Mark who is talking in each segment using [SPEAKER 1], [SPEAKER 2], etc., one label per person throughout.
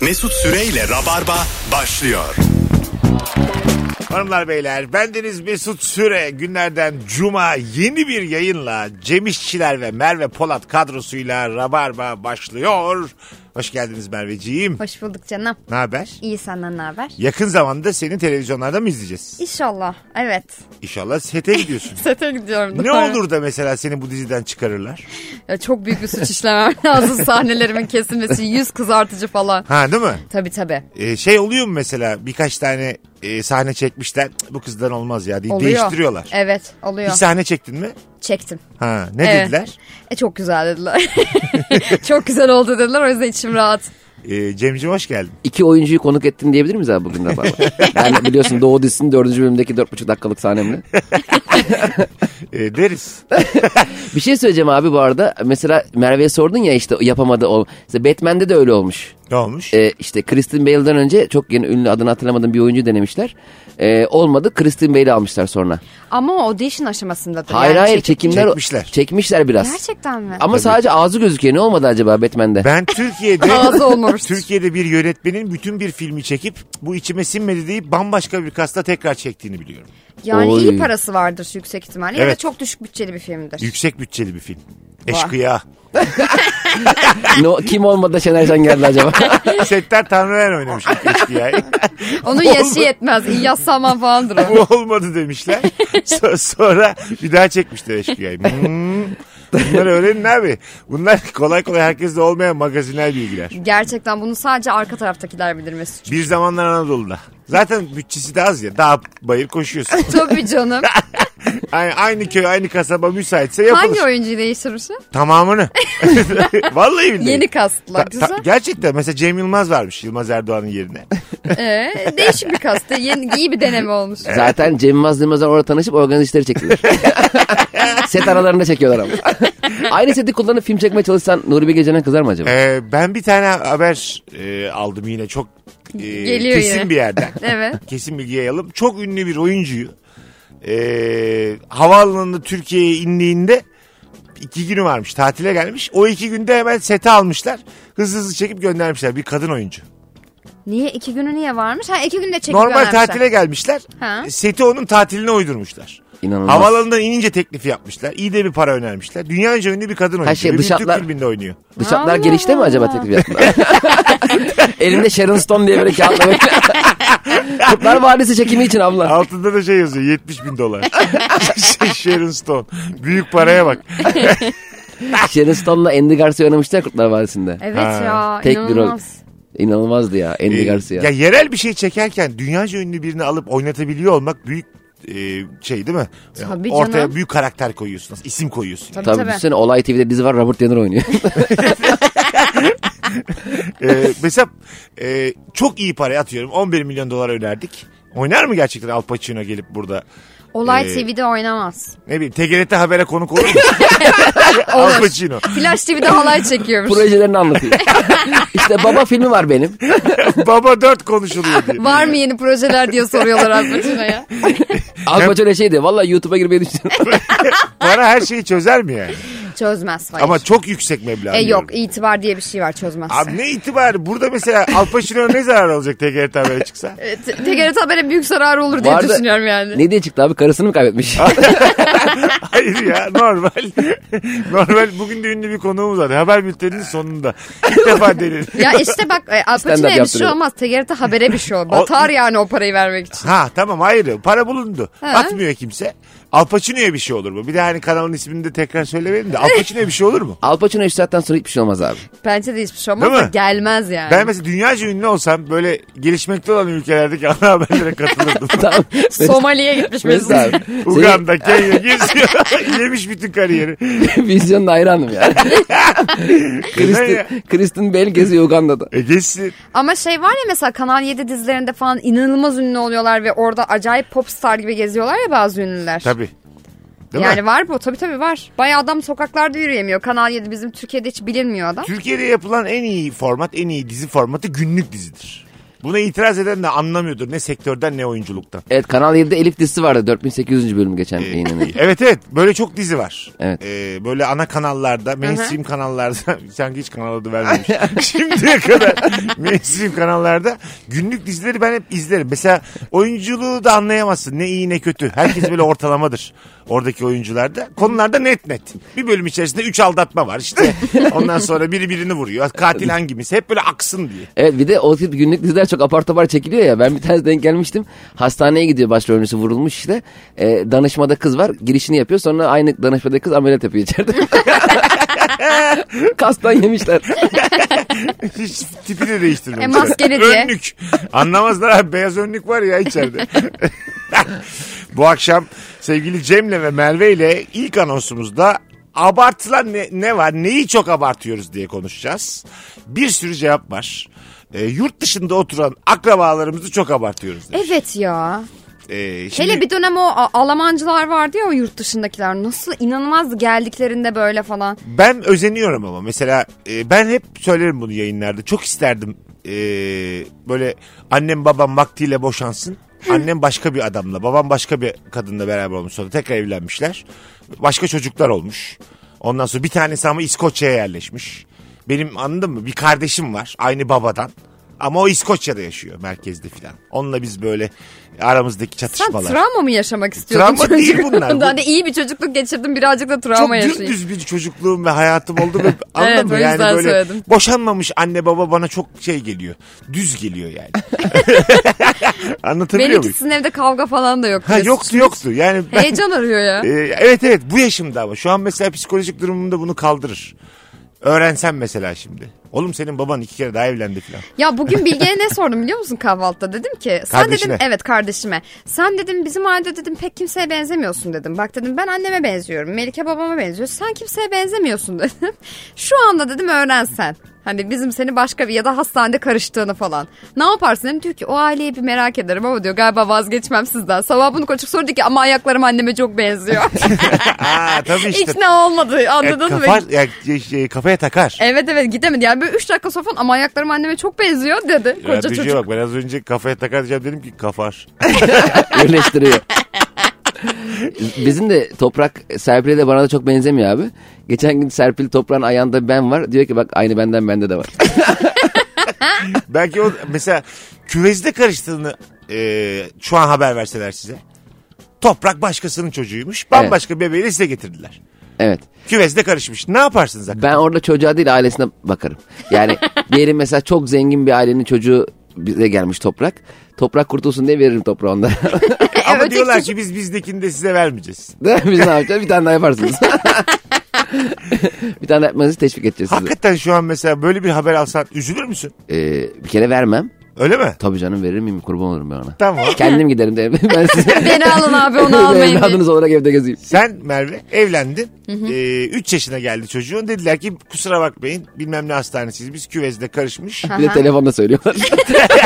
[SPEAKER 1] Mesut Süreyle Rabarba başlıyor.
[SPEAKER 2] Hanımlar beyler bendeniz Mesut Süre günlerden cuma yeni bir yayınla Cem İşçiler ve Merve Polat kadrosuyla Rabarba başlıyor. Hoş geldiniz Merveciğim.
[SPEAKER 3] Hoş bulduk canım.
[SPEAKER 2] Ne haber?
[SPEAKER 3] İyi senden ne haber?
[SPEAKER 2] Yakın zamanda seni televizyonlarda mı izleyeceğiz?
[SPEAKER 3] İnşallah. Evet.
[SPEAKER 2] İnşallah sete gidiyorsun.
[SPEAKER 3] Sete gidiyorum.
[SPEAKER 2] ne
[SPEAKER 3] doğru.
[SPEAKER 2] olur da mesela seni bu diziden çıkarırlar?
[SPEAKER 3] Ya çok büyük bir suç işlemem lazım sahnelerimin kesilmesi. Yüz kızartıcı falan.
[SPEAKER 2] Ha değil mi?
[SPEAKER 3] Tabii tabii.
[SPEAKER 2] Ee, şey oluyor mu mesela birkaç tane e, sahne çekmişler "Cık, bu kızdan olmaz ya diye
[SPEAKER 3] Oluyor.
[SPEAKER 2] değiştiriyorlar.
[SPEAKER 3] Evet oluyor.
[SPEAKER 2] Hiç sahne çektin mi?
[SPEAKER 3] Çektim.
[SPEAKER 2] Ha ne
[SPEAKER 3] Evet.
[SPEAKER 2] dediler?
[SPEAKER 3] E çok güzel dediler. çok güzel oldu dediler o yüzden içim rahat.
[SPEAKER 2] Ee, Cemcim hoş geldin.
[SPEAKER 4] İki oyuncuyu konuk ettim diyebilir miyiz abi bugün Rabarba? yani biliyorsun Doğu dizisinin dördüncü bölümdeki dört buçuk dakikalık sahnemle.
[SPEAKER 2] Ee, deriz.
[SPEAKER 4] Bir şey söyleyeceğim abi bu arada. Mesela Merve'ye sordun ya işte yapamadı o. İşte Batman'de de öyle olmuş.
[SPEAKER 2] Ne olmuş?
[SPEAKER 4] Ee, işte Kristen Bale'den önce çok yeni ünlü adını hatırlamadığım bir oyuncu denemişler. Ee, olmadı Kristen Bale'i almışlar sonra.
[SPEAKER 3] Ama o audition aşamasındadır.
[SPEAKER 4] Hayır
[SPEAKER 3] yani.
[SPEAKER 4] hayır
[SPEAKER 3] Çekip-
[SPEAKER 4] çekimler
[SPEAKER 2] Çekmişler.
[SPEAKER 4] çekmişler biraz.
[SPEAKER 3] Gerçekten mi?
[SPEAKER 4] Ama sadece ağzı gözüküyor. Ne olmadı acaba Batman'de?
[SPEAKER 2] Ben Türkiye'de
[SPEAKER 3] Ağzı olmamış.
[SPEAKER 2] Türkiye'de bir yönetmenin bütün bir filmi çekip bu içime sinmedi deyip bambaşka bir kasta tekrar çektiğini biliyorum.
[SPEAKER 3] Yani
[SPEAKER 4] Oy.
[SPEAKER 3] iyi parası vardır yüksek ihtimalle. Ya da
[SPEAKER 2] Evet.
[SPEAKER 3] çok düşük bütçeli bir filmdir.
[SPEAKER 2] Yüksek bütçeli bir film. Eşkıya.
[SPEAKER 4] No- kim olmadı da Şener Şen geldi acaba?
[SPEAKER 2] Settar Tanrıver oynamış Eşkıya'yı.
[SPEAKER 3] Onun
[SPEAKER 2] Oldu.
[SPEAKER 3] yaşı yetmez. İlyas Salman falandır o.
[SPEAKER 2] bu olmadı demişler. So- sonra bir daha çekmişler Eşkıya'yı. Hmm. Bunları öğrenin abi. Bunlar kolay kolay herkeste olmayan magazinel bilgiler.
[SPEAKER 3] Gerçekten bunu sadece arka taraftakiler bilir Mesut.
[SPEAKER 2] Bir zamanlar Anadolu'da. Zaten bütçesi de az ya. Daha bayır koşuyorsun.
[SPEAKER 3] Tabii canım.
[SPEAKER 2] Aynı, aynı köy, aynı kasaba müsaitse yapılır.
[SPEAKER 3] Hangi oyuncuyu değiştirirsin?
[SPEAKER 2] Tamamını. Vallahi billahi.
[SPEAKER 3] Yeni
[SPEAKER 2] Ta-
[SPEAKER 3] kastla.
[SPEAKER 2] ta-
[SPEAKER 3] Güzel.
[SPEAKER 2] gerçekten mesela Cem Yılmaz varmış Yılmaz Erdoğan'ın yerine.
[SPEAKER 3] Ee, değişik bir kast. Yeni, iyi bir deneme olmuş.
[SPEAKER 4] Zaten Cem Yılmaz Yılmaz'la orada tanışıp organize işleri çektiler. Set aralarında çekiyorlar ama. Aynı seti kullanıp film çekmeye çalışsan Nuri Bilge Ceylan kızar mı acaba?
[SPEAKER 2] Ee, ben bir tane haber e, aldım yine çok e,
[SPEAKER 3] Geliyor
[SPEAKER 2] kesin
[SPEAKER 3] yine.
[SPEAKER 2] bir yerden.
[SPEAKER 3] Evet.
[SPEAKER 2] kesin bilgi yayalım. Çok ünlü bir oyuncuyu e, havaalanında Türkiye'ye indiğinde iki günü varmış tatile gelmiş. O iki günde hemen sete almışlar. Hızlı hızlı çekip göndermişler bir kadın oyuncu.
[SPEAKER 3] Niye? iki günü niye varmış? Ha iki günde çekip
[SPEAKER 2] Normal
[SPEAKER 3] göndermişler.
[SPEAKER 2] tatile gelmişler. E,
[SPEAKER 3] Ha.
[SPEAKER 2] Seti onun tatiline uydurmuşlar.
[SPEAKER 4] İnanılmaz.
[SPEAKER 2] Havalandan inince teklifi yapmışlar. İyi de bir para önermişler. Dünyaca ünlü bir kadın oyuncu.
[SPEAKER 4] şey,
[SPEAKER 2] Ve bir
[SPEAKER 4] dışarılar-
[SPEAKER 2] Türk filminde oynuyor.
[SPEAKER 4] Dışarılar
[SPEAKER 3] Allah
[SPEAKER 4] gelişte mi acaba
[SPEAKER 3] Allah.
[SPEAKER 4] teklif yaptılar? Elinde Sharon Stone diye böyle kağıtla böyle. Kurtlar Vadisi çekimi için abla.
[SPEAKER 2] Altında da şey yazıyor 70 bin dolar. Şey, Sharon Stone. Büyük paraya bak.
[SPEAKER 4] Sharon Stone'la Andy Garcia oynamıştı ya Kurtlar Vadisi'nde.
[SPEAKER 3] Evet
[SPEAKER 2] Ha.
[SPEAKER 3] ya.
[SPEAKER 4] Tek bir rol.
[SPEAKER 3] E, inanılmaz.
[SPEAKER 4] İnanılmazdı ya Andy
[SPEAKER 2] Ee,
[SPEAKER 4] Garcia.
[SPEAKER 2] ya yerel bir şey çekerken dünyaca ünlü birini alıp oynatabiliyor olmak büyük e, şey değil mi? Yani
[SPEAKER 3] Tabii
[SPEAKER 2] Ortaya
[SPEAKER 3] canım.
[SPEAKER 2] büyük karakter koyuyorsun. isim koyuyorsun.
[SPEAKER 3] Tabii
[SPEAKER 4] Tabii,
[SPEAKER 3] tabii.
[SPEAKER 4] düşünsene Olay TV'de dizi var Robert De Niro oynuyor.
[SPEAKER 2] Ee, mesela e, çok iyi para atıyorum. 11 milyon dolar önerdik. Oynar mı gerçekten Al Pacino gelip burada?
[SPEAKER 3] Olay
[SPEAKER 2] Ee,
[SPEAKER 3] TV'de oynamaz.
[SPEAKER 2] Ne bileyim TGRT habere konuk olur mu? Al Pacino.
[SPEAKER 3] Flash TV'de halay çekiyormuş.
[SPEAKER 4] Projelerini anlatıyor. işte baba filmi var benim.
[SPEAKER 2] Baba 4 konuşuluyor diye.
[SPEAKER 3] Var mı yeni projeler diye soruyorlar Alpaçino'ya.
[SPEAKER 4] Al Pacino şeydi. Valla YouTube'a girmeyi düşünüyorum.
[SPEAKER 2] Para her şeyi çözer mi yani?
[SPEAKER 3] Çözmez hayır.
[SPEAKER 2] Ama çok yüksek meblağ.
[SPEAKER 3] e
[SPEAKER 2] diyorum.
[SPEAKER 3] yok itibar diye bir şey var çözmez.
[SPEAKER 2] Abi ne itibarı? Burada mesela Al Pacino ne zarar olacak TGRT habere çıksa?
[SPEAKER 3] E, Te- TGRT habere büyük zararı olur diye
[SPEAKER 4] Var da-
[SPEAKER 3] düşünüyorum yani.
[SPEAKER 4] ne diye çıktı abi? Karısını mı kaybetmiş?
[SPEAKER 2] Hayır ya normal. normal bugün de ünlü bir konuğumuz var. Haber bülteninin sonunda. İlk defa delirdim.
[SPEAKER 3] Ya işte bak e, Al
[SPEAKER 4] Stand-up
[SPEAKER 3] Pacino'ya bir şey
[SPEAKER 4] yaptırıyor.
[SPEAKER 3] olmaz. TGRT habere bir şey olur. Batar yani o parayı vermek için.
[SPEAKER 2] Ha tamam hayır para bulundu.
[SPEAKER 3] Ha.
[SPEAKER 2] Atmıyor kimse. Al Pacino'ya bir şey olur mu? Bir de hani kanalın ismini de tekrar söylemeyelim de Al Pacino'ya bir şey olur mu?
[SPEAKER 4] Al Pacino 3 saatten sonra hiçbir şey olmaz abi.
[SPEAKER 3] Bence de hiçbir şey
[SPEAKER 2] Değil
[SPEAKER 3] olmaz da
[SPEAKER 2] mi?
[SPEAKER 3] gelmez yani.
[SPEAKER 2] Ben mesela dünyaca ünlü olsam böyle gelişmekte olan ülkelerdeki ana haberlere katılırdım.
[SPEAKER 4] Tamam.
[SPEAKER 3] Somali'ye gitmiş Mesut.
[SPEAKER 4] Mesela abi. Senin
[SPEAKER 2] Uganda, Kenya geziyor. Yemiş bütün kariyeri.
[SPEAKER 4] vizyonuna hayranım yani.
[SPEAKER 2] ya?
[SPEAKER 4] Kristen, Kristen Bell geziyor Uganda'da.
[SPEAKER 2] E geçsin.
[SPEAKER 3] Ama şey var ya mesela Kanal 7 dizilerinde falan inanılmaz ünlü oluyorlar ve orada acayip popstar gibi geziyorlar ya bazı ünlüler.
[SPEAKER 2] Tabii. Değil
[SPEAKER 3] yani
[SPEAKER 2] mi?
[SPEAKER 3] var bu tabii tabii var. Bayağı adam sokaklarda yürüyemiyor. Kanal 7 bizim Türkiye'de hiç bilinmiyor adam.
[SPEAKER 2] Türkiye'de yapılan en iyi format, en iyi dizi formatı günlük dizidir. Buna itiraz eden de anlamıyordur ne sektörden ne oyunculuktan.
[SPEAKER 4] Evet Kanal 7'de Elif dizisi vardı 4800. bölüm geçen yayınlanan.
[SPEAKER 2] Evet evet böyle çok dizi var.
[SPEAKER 4] Evet.
[SPEAKER 2] Ee, böyle ana kanallarda, mainstream kanallarda sanki hiç kanal adı vermemiş. Şimdiye kadar mainstream kanallarda günlük dizileri ben hep izlerim. Mesela oyunculuğu da anlayamazsın ne iyi ne kötü. Herkes böyle ortalamadır oradaki oyuncularda. Konularda net net. Bir bölüm içerisinde 3 aldatma var işte. Ondan sonra biri birini vuruyor. Katil hangimiz? Hep böyle aksın diye.
[SPEAKER 4] Evet bir de o tip günlük diziler çok apar topar çekiliyor ya. Ben bir tane denk gelmiştim. Hastaneye gidiyor başrolcüsü vurulmuş işte. Ee, danışmada kız var girişini yapıyor. Sonra aynı danışmada kız ameliyat yapıyor içeride. Kastan yemişler.
[SPEAKER 2] Hiç tipi de değiştirmemiş.
[SPEAKER 3] E, maskeli diye.
[SPEAKER 2] Önlük. Anlamazlar abi beyaz önlük var ya içeride. Bu akşam sevgili Cem'le ve Merve ile ilk anonsumuzda abartılan ne, ne var neyi çok abartıyoruz diye konuşacağız. Bir sürü cevap var. E, yurt dışında oturan akrabalarımızı çok abartıyoruz. demiş.
[SPEAKER 3] Evet ya.
[SPEAKER 2] E, şimdi-
[SPEAKER 3] Hele bir dönem o A- Almancılar vardı ya o yurt dışındakiler. Nasıl inanılmazdı geldiklerinde böyle falan.
[SPEAKER 2] Ben özeniyorum ama mesela e, ben hep söylerim bunu yayınlarda. Çok isterdim e, böyle annem babam vaktiyle boşansın. Annem başka bir adamla, babam başka bir kadınla beraber olmuş sonra tekrar evlenmişler. Başka çocuklar olmuş. Ondan sonra bir tanesi ama İskoçya'ya yerleşmiş. Benim anladın mı? Bir kardeşim var aynı babadan. Ama o İskoçya'da yaşıyor merkezde filan. Onunla biz böyle aramızdaki
[SPEAKER 3] Sen
[SPEAKER 2] çatışmalar.
[SPEAKER 3] travma mı yaşamak istiyordun?
[SPEAKER 2] Travma değil bunlar. Bu-
[SPEAKER 3] Hani iyi bir çocukluk geçirdim birazcık da
[SPEAKER 2] çok
[SPEAKER 3] travma yaşayayım.
[SPEAKER 2] dümdüz bir çocukluğum ve hayatım oldu ve anladın
[SPEAKER 3] Evet,
[SPEAKER 2] mı?
[SPEAKER 3] o
[SPEAKER 2] Yani
[SPEAKER 3] yüzden
[SPEAKER 2] böyle
[SPEAKER 3] söyledim.
[SPEAKER 2] boşanmamış anne baba bana çok şey geliyor. Düz geliyor yani. Anlatabiliyor muyum?
[SPEAKER 3] Benimkisinin evde kavga falan da yok.
[SPEAKER 2] Ha yoktu yoktu. Yani ben
[SPEAKER 3] Heyecan arıyor ya.
[SPEAKER 2] Ee, evet evet bu yaşımda ama şu an mesela psikolojik durumumda bunu kaldırır. Öğrensem mesela şimdi. Oğlum senin baban iki kere daha evlendi falan.
[SPEAKER 3] Ya bugün Bilge'ye ne sordum biliyor musun kahvaltıda? Dedim ki sen
[SPEAKER 2] Kardeşine.
[SPEAKER 3] dedim evet kardeşime. Sen dedim bizim ailede dedim pek kimseye benzemiyorsun dedim. Bak dedim ben anneme benziyorum. Melike babama benziyor. Sen kimseye benzemiyorsun dedim. Şu anda dedim öğrensen. Hani bizim seni başka bir ya da hastanede karıştığını falan. Ne yaparsın dedim. Diyor ki o aileyi bir merak ederim ama diyor galiba vazgeçmem sizden. Sabah bunu koçuk sordu ki ama ayaklarım anneme çok benziyor.
[SPEAKER 2] Aa tabii işte.
[SPEAKER 3] İkna olmadı
[SPEAKER 2] Ya,
[SPEAKER 3] anladın mı? E,
[SPEAKER 2] kafa, ya, şey- şey, kafaya takar.
[SPEAKER 3] Evet evet gidemedi. Yani böyle 3 dakika sonra falan ama ayaklarım anneme çok benziyor dedi.
[SPEAKER 2] Ya,
[SPEAKER 3] Koca
[SPEAKER 2] Düzce'ye
[SPEAKER 3] çocuk.
[SPEAKER 2] bak ben az önce kafaya takar diyeceğim dedim ki kafar.
[SPEAKER 4] Birleştiriyor. Bizim de Toprak Serpil'e de bana da çok benzemiyor abi. Geçen gün Serpil Toprak'ın ayağında ben var. Diyor ki bak aynı benden bende de var.
[SPEAKER 2] Belki o mesela küvezde karıştığını e, şu an haber verseler size. Toprak başkasının çocuğuymuş. Bambaşka bebeğiyle size getirdiler.
[SPEAKER 4] Evet.
[SPEAKER 2] Küvezde karışmış. Ne yaparsınız hakikaten?
[SPEAKER 4] Ben orada çocuğa değil ailesine bakarım. Yani diyelim mesela çok zengin bir ailenin çocuğu bize gelmiş toprak. Toprak kurtulsun diye veririm toprağı ondan.
[SPEAKER 2] Ama
[SPEAKER 3] öteki
[SPEAKER 2] diyorlar
[SPEAKER 3] çocuk-
[SPEAKER 2] ki biz bizdekini de size vermeyeceğiz.
[SPEAKER 4] Biz ne yapacağız? Bir tane daha yaparsınız. bir tane daha yapmanızı teşvik edeceğiz size.
[SPEAKER 2] Hakikaten şu an mesela böyle bir haber alsan üzülür müsün?
[SPEAKER 4] Ee, bir kere vermem.
[SPEAKER 2] Öyle mi?
[SPEAKER 4] Tabii canım verir miyim? Kurban olurum ben ona.
[SPEAKER 2] Tamam.
[SPEAKER 4] Kendim giderim de ben size.
[SPEAKER 3] Beni alın abi onu almayın.
[SPEAKER 4] Evladınız olarak evde gezeyim.
[SPEAKER 2] Sen Merve evlendin. 3 yaşına geldi çocuğun. Dediler ki kusura bakmayın bilmem ne hastanesiyiz. Biz küvezde karışmış.
[SPEAKER 4] Bir de telefonla söylüyorlar.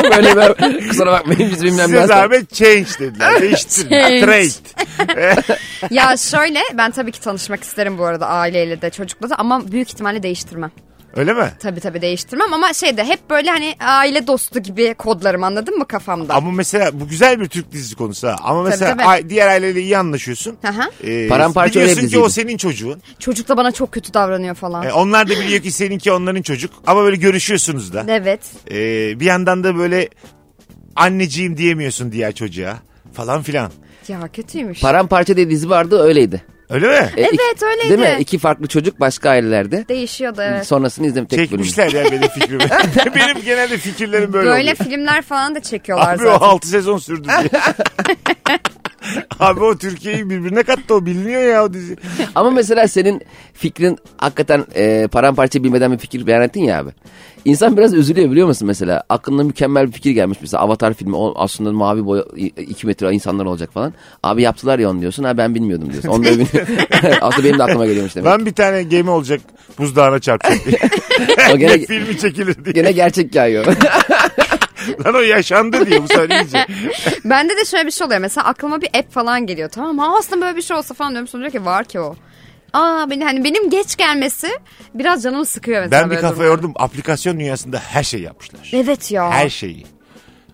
[SPEAKER 4] Böyle ben, kusura bakmayın biz bilmem ne
[SPEAKER 2] Size
[SPEAKER 4] hasta-
[SPEAKER 2] zahmet change dediler. Değiştirin.
[SPEAKER 3] Change.
[SPEAKER 2] Trade.
[SPEAKER 3] ya şöyle ben tabii ki tanışmak isterim bu arada aileyle de çocukla da ama büyük ihtimalle değiştirmem.
[SPEAKER 2] Öyle mi?
[SPEAKER 3] Tabii tabii değiştirmem ama şeyde hep böyle hani aile dostu gibi kodlarım anladın mı kafamda?
[SPEAKER 2] Ama mesela bu güzel bir Türk dizisi konusu ha. Ama mesela
[SPEAKER 3] tabii.
[SPEAKER 2] ay- diğer aileyle iyi anlaşıyorsun.
[SPEAKER 3] Hı hı.
[SPEAKER 2] Ee,
[SPEAKER 4] Paramparça öyle bir
[SPEAKER 2] Biliyorsun ki
[SPEAKER 4] diziydi.
[SPEAKER 2] o senin çocuğun.
[SPEAKER 3] Çocuk da bana çok kötü davranıyor falan.
[SPEAKER 2] Ee, onlar da biliyor ki seninki onların çocuk. Ama böyle görüşüyorsunuz da.
[SPEAKER 3] Evet.
[SPEAKER 2] Ee, bir yandan da böyle anneciğim diyemiyorsun diğer çocuğa falan filan.
[SPEAKER 3] Ya kötüymüş.
[SPEAKER 4] Paramparça diye dizi vardı öyleydi.
[SPEAKER 2] Öyle mi?
[SPEAKER 4] E,
[SPEAKER 3] Evet,
[SPEAKER 4] iki-
[SPEAKER 3] öyleydi.
[SPEAKER 4] Değil mi? İki farklı çocuk başka ailelerde.
[SPEAKER 3] Değişiyordu evet.
[SPEAKER 4] Sonrasını izledim tek bölüm.
[SPEAKER 2] Çekmişler ya benim fikrimi. benim genelde fikirlerim böyle,
[SPEAKER 3] Böyle
[SPEAKER 2] oluyor.
[SPEAKER 3] filmler falan da çekiyorlar
[SPEAKER 2] Abi o
[SPEAKER 3] zaten.
[SPEAKER 2] 6 sezon sürdü diye. Abi o Türkiye'yi birbirine kattı o biliniyor ya o dizi.
[SPEAKER 4] Ama mesela senin fikrin hakikaten e, paramparça bilmeden bir fikir beyan ettin ya abi. İnsan biraz üzülüyor biliyor musun mesela? Aklına mükemmel bir fikir gelmiş mesela Avatar filmi o aslında mavi boya 2 metre insanlar olacak falan. Abi yaptılar ya onu diyorsun ha ben bilmiyordum diyorsun. Onu da bilmiyorum. aslında benim de aklıma geliyormuş demek.
[SPEAKER 2] Ben bir tane gemi olacak buzdağına çarpacak diye.
[SPEAKER 4] o gene,
[SPEAKER 2] Filmi çekilir diye.
[SPEAKER 4] gene gerçek yayıyor.
[SPEAKER 2] Lan o yaşandı diye bu sefer iyice.
[SPEAKER 3] Bende de şöyle bir şey oluyor. Mesela aklıma bir app falan geliyor tamam mı? Aa, Aslında böyle bir şey olsa falan diyorum. Sonra diyor ki var ki o. Aa beni hani benim geç gelmesi biraz canımı sıkıyor mesela.
[SPEAKER 2] Ben bir
[SPEAKER 3] böyle
[SPEAKER 2] kafa
[SPEAKER 3] durumlarda.
[SPEAKER 2] yordum. Aplikasyon dünyasında her şey yapmışlar.
[SPEAKER 3] Evet ya.
[SPEAKER 2] Her şeyi.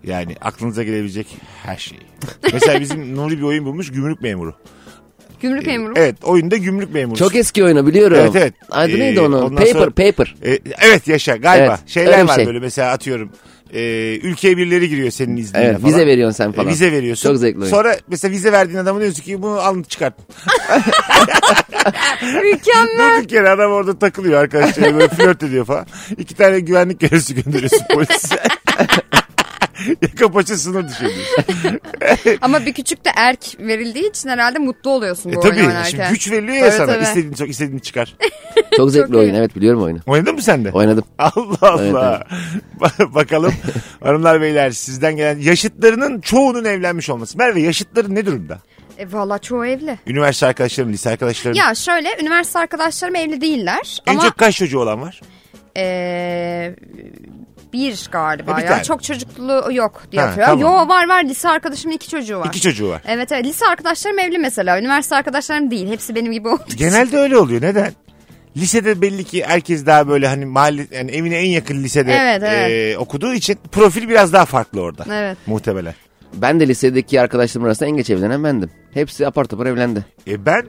[SPEAKER 2] Yani aklınıza gelebilecek her şeyi. Mesela bizim Nuri bir oyun bulmuş gümrük memuru.
[SPEAKER 3] Gümrük
[SPEAKER 2] şey-
[SPEAKER 3] memuru.
[SPEAKER 2] Evet oyunda gümrük memuru.
[SPEAKER 4] Çok eski oyunu biliyorum.
[SPEAKER 2] Evet, evet.
[SPEAKER 4] Adı
[SPEAKER 2] Ee,
[SPEAKER 4] neydi onun?
[SPEAKER 2] ondan
[SPEAKER 4] Paper
[SPEAKER 2] sonra-
[SPEAKER 4] Paper.
[SPEAKER 2] E, evet yaşa galiba.
[SPEAKER 4] Evet, öyle
[SPEAKER 2] Şeyler
[SPEAKER 4] bir
[SPEAKER 2] var
[SPEAKER 4] şey.
[SPEAKER 2] böyle mesela atıyorum. E, ülkeye birileri giriyor senin izninle
[SPEAKER 4] Evet,
[SPEAKER 2] Ee, falan.
[SPEAKER 4] vize veriyorsun sen falan.
[SPEAKER 2] E, vize veriyorsun.
[SPEAKER 4] Çok zevkli oyun.
[SPEAKER 2] Sonra mesela vize verdiğin adamın diyorsun ki bunu alın çıkart.
[SPEAKER 3] Mükemmel.
[SPEAKER 2] Durduk yere adam orada takılıyor arkadaşlar böyle flört ediyor falan. İki tane güvenlik görevlisi gönderiyorsun polise. Yaka paça sınır dışı ediyorsun.
[SPEAKER 3] Ama bir küçük de erk verildiği için herhalde mutlu oluyorsun bu
[SPEAKER 2] E
[SPEAKER 3] oyunu
[SPEAKER 2] tabii şimdi
[SPEAKER 3] oynarken.
[SPEAKER 2] güç veriliyor ya
[SPEAKER 3] Tabii,
[SPEAKER 2] sana.
[SPEAKER 3] tabii.
[SPEAKER 2] İstediğin çok istediğini çıkar.
[SPEAKER 4] Çok zevkli
[SPEAKER 3] iyi.
[SPEAKER 4] oyun. Evet biliyorum oyunu.
[SPEAKER 2] Oynadın mı sen de?
[SPEAKER 4] Oynadım.
[SPEAKER 2] Allah Allah. Ba- Bakalım hanımlar beyler sizden gelen yaşıtlarının çoğunun evlenmiş olması. Merve yaşıtların ne durumda?
[SPEAKER 3] E valla çoğu evli.
[SPEAKER 2] Üniversite arkadaşların, lise arkadaşların.
[SPEAKER 3] Ya şöyle üniversite arkadaşlarım evli değiller
[SPEAKER 2] en
[SPEAKER 3] ama
[SPEAKER 2] çok kaç çocuğu olan var?
[SPEAKER 3] e, bir galiba
[SPEAKER 2] E, bir
[SPEAKER 3] ya.
[SPEAKER 2] tane.
[SPEAKER 3] Çok çocuklu yok diye
[SPEAKER 2] Ha,
[SPEAKER 3] hatırlıyorum.
[SPEAKER 2] tamam.
[SPEAKER 3] Yo var var lise arkadaşımın iki çocuğu var.
[SPEAKER 2] İki çocuğu var.
[SPEAKER 3] Evet evet lise arkadaşlarım evli mesela. Üniversite arkadaşlarım değil. Hepsi benim gibi oldu.
[SPEAKER 2] Genelde öyle oluyor. Neden? Lisede belli ki herkes daha böyle hani mahalle yani evine en yakın lisede
[SPEAKER 3] Evet, evet.
[SPEAKER 2] e, okuduğu için profil biraz daha farklı orada.
[SPEAKER 3] Evet.
[SPEAKER 2] Muhtemelen.
[SPEAKER 4] Ben de lisedeki arkadaşlarım arasında en geç evlenen bendim. Hepsi apar topar evlendi.
[SPEAKER 2] E ben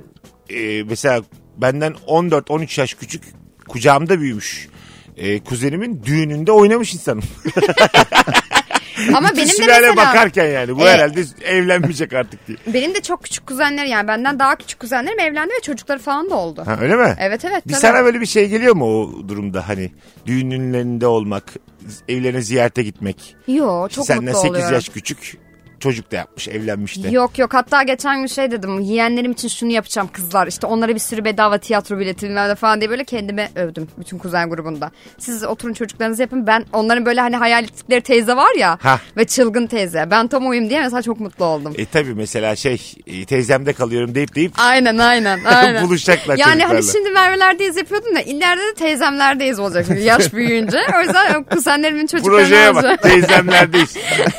[SPEAKER 2] e, mesela benden 14-13 yaş küçük kucağımda büyümüş e, kuzenimin düğününde oynamış insanım.
[SPEAKER 3] Ama benim de
[SPEAKER 2] Sülale
[SPEAKER 3] mesela
[SPEAKER 2] bakarken yani bu
[SPEAKER 3] E-
[SPEAKER 2] herhalde evlenmeyecek artık diye.
[SPEAKER 3] benim de çok küçük kuzenlerim yani benden daha küçük kuzenlerim evlendi ve çocukları falan da oldu.
[SPEAKER 2] Ha, öyle mi?
[SPEAKER 3] Evet evet.
[SPEAKER 2] Bir
[SPEAKER 3] tabii.
[SPEAKER 2] sana böyle bir şey geliyor mu o durumda hani düğünlerinde olmak, evlerine ziyarete gitmek.
[SPEAKER 3] Yo çok
[SPEAKER 2] Senden
[SPEAKER 3] mutlu
[SPEAKER 2] 8
[SPEAKER 3] oluyorum.
[SPEAKER 2] yaş küçük çocuk da yapmış evlenmiş de.
[SPEAKER 3] Yok yok hatta geçen gün şey dedim yeğenlerim için şunu yapacağım kızlar işte onlara bir sürü bedava tiyatro bileti bilmem ne falan diye böyle kendime övdüm bütün kuzen grubunda. Siz oturun çocuklarınızı yapın ben onların böyle hani hayal ettikleri teyze var ya
[SPEAKER 2] Hah.
[SPEAKER 3] ve çılgın teyze ben tam oyum diye mesela çok mutlu oldum.
[SPEAKER 2] E tabi mesela şey e, teyzemde kalıyorum deyip deyip
[SPEAKER 3] Aynen aynen aynen.
[SPEAKER 2] Buluşacaklar
[SPEAKER 3] Yani
[SPEAKER 2] çocuklarla.
[SPEAKER 3] hani şimdi Merve'lerdeyiz yapıyordum da ileride de teyzemlerdeyiz olacak şimdi yaş büyüyünce. O yüzden kuzenlerimin çocuklarını
[SPEAKER 2] projeye
[SPEAKER 3] alacağım.
[SPEAKER 2] bak teyzemlerdeyiz.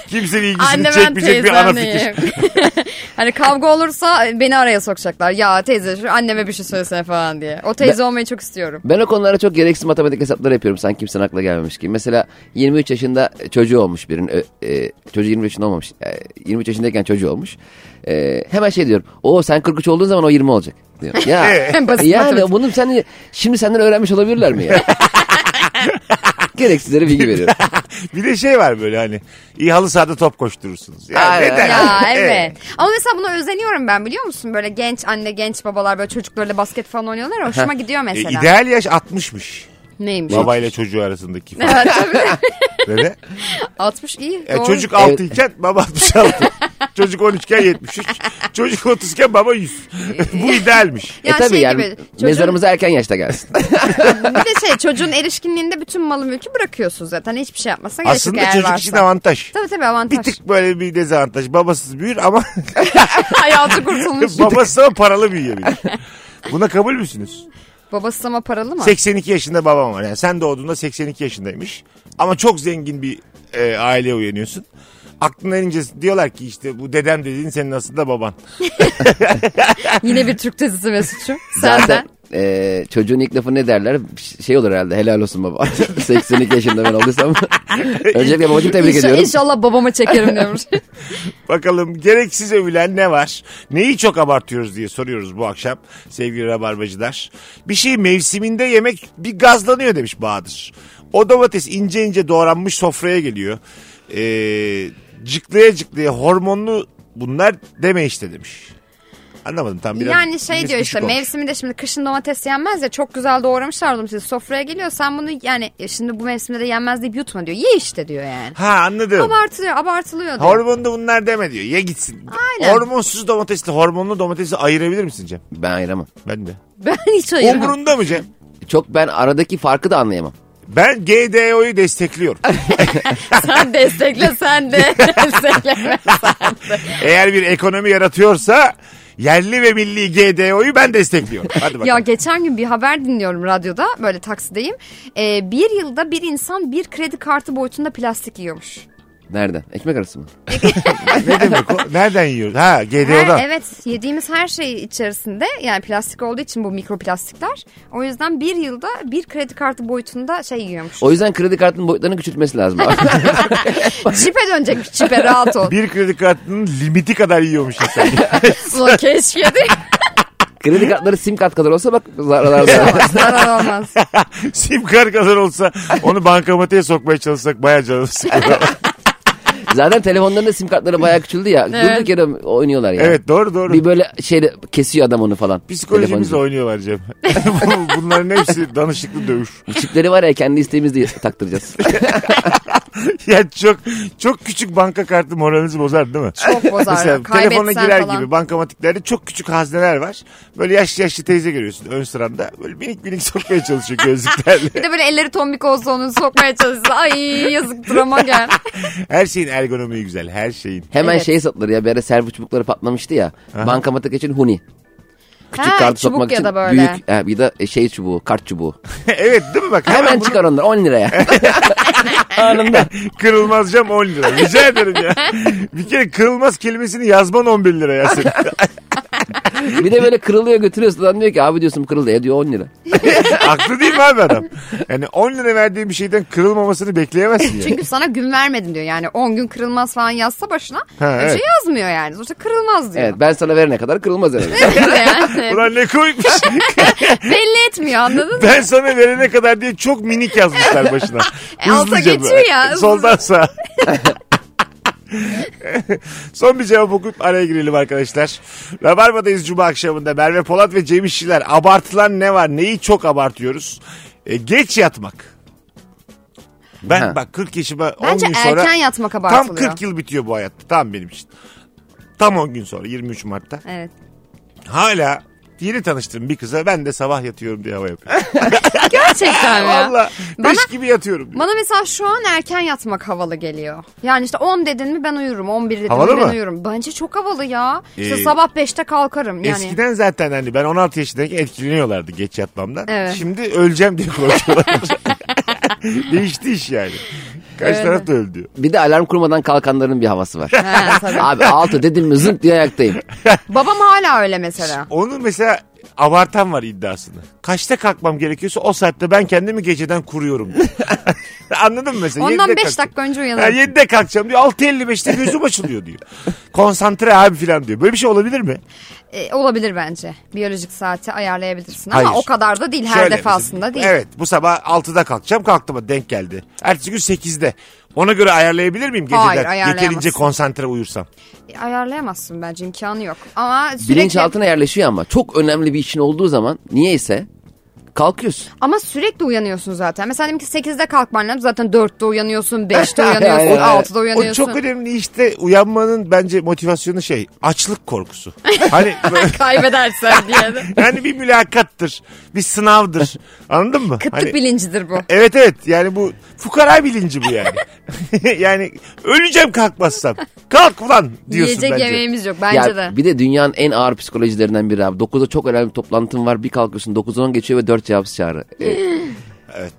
[SPEAKER 2] Kimsenin ilgisini
[SPEAKER 3] Anne ben
[SPEAKER 2] çekmeyecek bir ana fikir.
[SPEAKER 3] teyzemleyim. hani kavga olursa beni araya sokacaklar. Ya teyze şu anneme bir şey söylesene falan diye. O teyze olmayı çok istiyorum.
[SPEAKER 4] Ben o konulara çok gereksiz matematik hesapları yapıyorum. Sanki kimsenin aklına gelmemiş gibi. Mesela 23 yaşında çocuğu olmuş birinin. Ö- e, çocuğu 23 yaşında olmamış. E, 23 yaşındayken çocuğu olmuş. E, hemen şey diyorum. O sen 43 olduğun zaman o 20 olacak. Diyorum. Ya,
[SPEAKER 3] Basit matematik.
[SPEAKER 4] yani bunu sen şimdi senden öğrenmiş olabilirler mi ya? Gereksizlere bilgi veriyorum.
[SPEAKER 2] Bir de şey var böyle hani iyi halı sahada top koşturursunuz. Ya E,
[SPEAKER 4] Aynen.
[SPEAKER 2] neden?
[SPEAKER 3] Ya evet. Ama mesela buna özeniyorum ben biliyor musun? Böyle genç anne genç babalar böyle çocuklarıyla basket falan oynuyorlar. ya, Hoşuma gidiyor
[SPEAKER 2] E,
[SPEAKER 3] mesela.
[SPEAKER 2] ideal yaş 60'mış.
[SPEAKER 3] Neymiş?
[SPEAKER 2] Babayla çocuğu arasındaki fark.
[SPEAKER 3] Evet, tabii.
[SPEAKER 2] Böyle.
[SPEAKER 3] 60 iyi.
[SPEAKER 2] E,
[SPEAKER 3] doğru.
[SPEAKER 2] çocuk
[SPEAKER 4] Evet.
[SPEAKER 2] 6 iken baba 66. çocuk 13 iken 73. Çocuk 30 iken baba 100. Bu idealmiş.
[SPEAKER 4] e
[SPEAKER 3] Ya
[SPEAKER 4] tabii
[SPEAKER 3] şey
[SPEAKER 4] yani
[SPEAKER 3] gibi, çocuğun-
[SPEAKER 4] mezarımıza erken yaşta gelsin.
[SPEAKER 3] bir de şey çocuğun erişkinliğinde bütün malı mülkü bırakıyorsun zaten. Hiçbir şey yapmasına gerek yok
[SPEAKER 2] Aslında
[SPEAKER 3] eğer
[SPEAKER 2] çocuk
[SPEAKER 3] varsa.
[SPEAKER 2] için avantaj.
[SPEAKER 3] Tabii tabii avantaj.
[SPEAKER 2] Bir tık böyle bir dezavantaj. Babasız büyür ama
[SPEAKER 3] Hayatı kurtulmuş.
[SPEAKER 2] babası ama paralı büyüyebilir. Buna kabul müsünüz?
[SPEAKER 3] Babası ama paralı mı?
[SPEAKER 2] 82 yaşında babam var. Yani sen doğduğunda 82 yaşındaymış. Ama çok zengin bir e, aileye uyanıyorsun. Aklına erince diyorlar ki işte bu dedem dediğin senin aslında baban.
[SPEAKER 3] Yine bir Türk dizisi Mesut'cum.
[SPEAKER 4] Zaten
[SPEAKER 3] Senden.
[SPEAKER 4] eee, E, çocuğun ilk lafı ne derler? Ş- Şey olur herhalde helal olsun baba. 82 yaşında ben olduysam. Öncelikle babacığım tebrik
[SPEAKER 3] İnşa-
[SPEAKER 4] ediyorum.
[SPEAKER 3] İnşallah babama çekerim diyormuş.
[SPEAKER 2] Bakalım gereksiz övülen ne var? Neyi çok abartıyoruz diye soruyoruz bu akşam sevgili rabarbacılar. Bir şey mevsiminde yemek bir gazlanıyor demiş Bahadır. O domates ince ince doğranmış sofraya geliyor. Ee, cıklaya cıklaya hormonlu bunlar deme işte demiş. Anlamadım tam biraz.
[SPEAKER 3] yani şey
[SPEAKER 2] biraz
[SPEAKER 3] diyor
[SPEAKER 2] düşük
[SPEAKER 3] işte
[SPEAKER 2] olmuş.
[SPEAKER 3] mevsiminde şimdi kışın domates yenmez ya çok güzel doğramışlar domatesi sofraya geliyor. Sen bunu yani e, şimdi bu mevsimde de yenmez deyip yutma diyor. Ye işte diyor yani.
[SPEAKER 2] Ha anladım.
[SPEAKER 3] Abartılıyor abartılıyor diyor.
[SPEAKER 2] Hormonlu bunlar deme diyor. Ye gitsin.
[SPEAKER 3] Aynen.
[SPEAKER 2] Hormonsuz domatesle hormonlu domatesi ayırabilir misin Cem?
[SPEAKER 4] Ben ayıramam.
[SPEAKER 2] Ben de.
[SPEAKER 3] Ben hiç ayırmam.
[SPEAKER 2] Umurunda mı Cem?
[SPEAKER 4] Çok ben aradaki farkı da anlayamam.
[SPEAKER 2] Ben GDO'yu destekliyorum.
[SPEAKER 3] sen destekle sen de. Destekleme sen de.
[SPEAKER 2] Eğer bir ekonomi yaratıyorsa yerli ve milli GDO'yu ben destekliyorum. Hadi bakalım.
[SPEAKER 3] Ya geçen gün bir haber dinliyorum radyoda böyle taksideyim. Ee, bir yılda bir insan bir kredi kartı boyutunda plastik yiyormuş.
[SPEAKER 4] Nereden? Ekmek arası mı?
[SPEAKER 2] ne demek o? Nereden yiyoruz? Ha GDO'dan.
[SPEAKER 3] Her, evet yediğimiz her şey içerisinde yani plastik olduğu için bu mikroplastikler. O yüzden bir yılda bir kredi kartı boyutunda şey yiyormuş.
[SPEAKER 4] O yüzden kredi kartının boyutlarını küçültmesi lazım. abi.
[SPEAKER 3] Çipe dönecek çipe rahat ol.
[SPEAKER 2] Bir kredi kartının limiti kadar yiyormuş insan.
[SPEAKER 3] Ulan keşke de
[SPEAKER 4] kredi kartları sim kart kadar olsa bak zararlar zarar.
[SPEAKER 3] zarar olmaz.
[SPEAKER 2] Sim kart kadar olsa onu bankamatiğe sokmaya çalışsak bayağı canımız sıkılır.
[SPEAKER 4] Zaten telefonlarında sim kartları bayağı küçüldü ya.
[SPEAKER 3] Evet.
[SPEAKER 4] Durduk yere oynuyorlar ya.
[SPEAKER 2] evet doğru doğru.
[SPEAKER 4] Bir böyle şeyle kesiyor adam onu falan.
[SPEAKER 2] Psikolojimizle
[SPEAKER 4] Telefoncu.
[SPEAKER 2] oynuyorlar Cem. Bu- Bunların hepsi danışıklı dövüş.
[SPEAKER 4] Çipleri var ya kendi isteğimizle taktıracağız.
[SPEAKER 2] Ya çok çok küçük banka kartı moralinizi bozar değil mi?
[SPEAKER 3] Çok bozar.
[SPEAKER 2] Mesela
[SPEAKER 3] Kaybetsen
[SPEAKER 2] telefona girer
[SPEAKER 3] falan.
[SPEAKER 2] gibi bankamatiklerde çok küçük hazneler var. Böyle yaşlı yaşlı teyze görüyorsun ön sıranda. Böyle minik minik sokmaya çalışıyor gözlüklerle.
[SPEAKER 3] Bir de böyle elleri tombik olsa onu sokmaya çalışsa. Ay yazıktır ama gel.
[SPEAKER 2] Her şeyin ergonomiyi güzel her şeyin.
[SPEAKER 4] Hemen
[SPEAKER 3] Evet.
[SPEAKER 4] şey satılır ya bir ara servo çubukları patlamıştı ya. Bankamatik için huni. Küçük
[SPEAKER 3] Ha,
[SPEAKER 4] kartı
[SPEAKER 3] çubuk
[SPEAKER 4] sokmak
[SPEAKER 3] ya
[SPEAKER 4] için
[SPEAKER 3] da böyle.
[SPEAKER 4] büyük e, bir de şey çubuğu kart çubuğu.
[SPEAKER 2] evet değil mi bak
[SPEAKER 4] Hemen
[SPEAKER 2] bunu-
[SPEAKER 4] çıkar onlar 10 liraya. Anında.
[SPEAKER 2] Kırılmaz cam 10 lira. Rica ederim ya. Bir kere kırılmaz kelimesini yazman 11 lira ya senin.
[SPEAKER 4] Bir de böyle kırılıyor götürüyorsun. Adam diyor ki abi diyorsun bu kırıldı. E diyor 10 lira.
[SPEAKER 2] Haklı değil mi abi adam? Yani 10 lira verdiğin bir şeyden kırılmamasını bekleyemezsin yani.
[SPEAKER 3] Çünkü sana gün vermedim diyor. Yani 10 gün kırılmaz falan yazsa başına.
[SPEAKER 2] Ha,
[SPEAKER 3] öyle
[SPEAKER 2] evet.
[SPEAKER 3] şey yazmıyor yani. Sonuçta kırılmaz diyor.
[SPEAKER 4] Evet ben sana verene kadar kırılmaz herhalde.
[SPEAKER 3] yani.
[SPEAKER 2] Ulan ne koymuş.
[SPEAKER 3] Belli etmiyor anladın mı?
[SPEAKER 2] Ben sana verene kadar diye çok minik yazmışlar başına.
[SPEAKER 3] E, alta
[SPEAKER 2] Hızlıca
[SPEAKER 3] geçiyor
[SPEAKER 2] böyle.
[SPEAKER 3] ya, hızlı.
[SPEAKER 2] Soldan sağa. Son bir cevap okuyup araya girelim arkadaşlar. Rabarba'dayız Cuma akşamında. Merve Polat ve Cem İşçiler. Abartılan ne var? Neyi çok abartıyoruz? E, geç yatmak. Ben
[SPEAKER 4] Ha.
[SPEAKER 2] bak 40 yaşıma 10
[SPEAKER 3] Bence
[SPEAKER 2] gün sonra...
[SPEAKER 3] erken yatmak
[SPEAKER 2] Tam
[SPEAKER 3] abartılıyor.
[SPEAKER 2] 40 yıl bitiyor bu hayatta. Tam benim için. Tam 10 gün sonra 23 Mart'ta.
[SPEAKER 3] Evet.
[SPEAKER 2] Hala yeni tanıştığım bir kıza ben de sabah yatıyorum diye hava yapıyorum.
[SPEAKER 3] Gerçekten ya.
[SPEAKER 2] Valla
[SPEAKER 3] Bana-
[SPEAKER 2] beş gibi yatıyorum. diyor.
[SPEAKER 3] Bana mesela şu an erken yatmak havalı geliyor. Yani işte 10 dedin mi ben uyurum. 11 dedin
[SPEAKER 2] Havalı
[SPEAKER 3] mi ben
[SPEAKER 2] mı?
[SPEAKER 3] uyurum. Bence çok havalı ya. İşte
[SPEAKER 2] Ee,
[SPEAKER 3] sabah 5'te kalkarım yani.
[SPEAKER 2] Eskiden zaten hani ben 16 yaşındayken etkileniyorlardı geç yatmamdan.
[SPEAKER 3] Evet.
[SPEAKER 2] Şimdi öleceğim diye korkuyorlar. Değişti iş yani. Kaç taraf da öldü.
[SPEAKER 4] bir de alarm kurmadan kalkanların bir havası var.
[SPEAKER 3] He, tabii.
[SPEAKER 4] abi altı dedim mi zınk diye ayaktayım.
[SPEAKER 3] Babam hala öyle mesela.
[SPEAKER 2] Onu mesela abartan var iddiasını. Kaçta kalkmam gerekiyorsa o saatte ben kendimi geceden kuruyorum. diyor. Anladın mı mesela?
[SPEAKER 3] Ondan 5
[SPEAKER 2] 5
[SPEAKER 3] dakika önce
[SPEAKER 2] Ha,
[SPEAKER 3] uyanırım.
[SPEAKER 2] 7'de kalkacağım diyor. 6.55'te gözüm açılıyor diyor. Konsantre abi falan diyor. Böyle bir şey olabilir mi?
[SPEAKER 3] E, olabilir bence. Biyolojik saati ayarlayabilirsin ama
[SPEAKER 2] Hayır.
[SPEAKER 3] o kadar da değil her
[SPEAKER 2] Şöyle
[SPEAKER 3] defasında
[SPEAKER 2] mesela,
[SPEAKER 3] değil.
[SPEAKER 2] Evet bu sabah 6'da kalkacağım kalktım denk geldi. Ertesi gün 8'de. Ona göre ayarlayabilir miyim geceden?
[SPEAKER 3] Hayır, ayarlayamazsın.
[SPEAKER 2] Yeterince konsantre uyursam.
[SPEAKER 3] E, Ayarlayamazsın bence imkanı yok. Ama sürekli
[SPEAKER 4] Bilinçaltına yerleşiyor ama çok önemli bir işin olduğu zaman niyeyse kalkıyorsun.
[SPEAKER 3] ama sürekli uyanıyorsun zaten. Mesela diyelim ki 8'de kalkman lazım. Zaten 4'te uyanıyorsun, 5'te uyanıyorsun,
[SPEAKER 4] Aynen, aynen.
[SPEAKER 3] 6'da
[SPEAKER 2] Ee, O
[SPEAKER 3] uyanıyorsun.
[SPEAKER 2] çok önemli işte uyanmanın bence motivasyonu şey açlık korkusu. hani böyle-
[SPEAKER 3] Kaybedersen diye. de.
[SPEAKER 2] yani bir mülakattır. Bir sınavdır. Anladın mı?
[SPEAKER 3] Kıtlık
[SPEAKER 2] Hani-
[SPEAKER 3] bilincidir bu.
[SPEAKER 2] Evet evet yani bu fukara bilinci bu yani. yani öleceğim kalkmazsam. Kalk ulan diyorsun
[SPEAKER 3] Yiyecek
[SPEAKER 2] bence.
[SPEAKER 3] yemeğimiz yok bence
[SPEAKER 4] ya,
[SPEAKER 3] de.
[SPEAKER 4] Bir de dünyanın en ağır psikolojilerinden biri abi. 9'da çok önemli bir toplantın var. Bir kalkıyorsun 9'a 10 geçiyor ve 4 cevapsız çağrı. E,
[SPEAKER 2] Evet.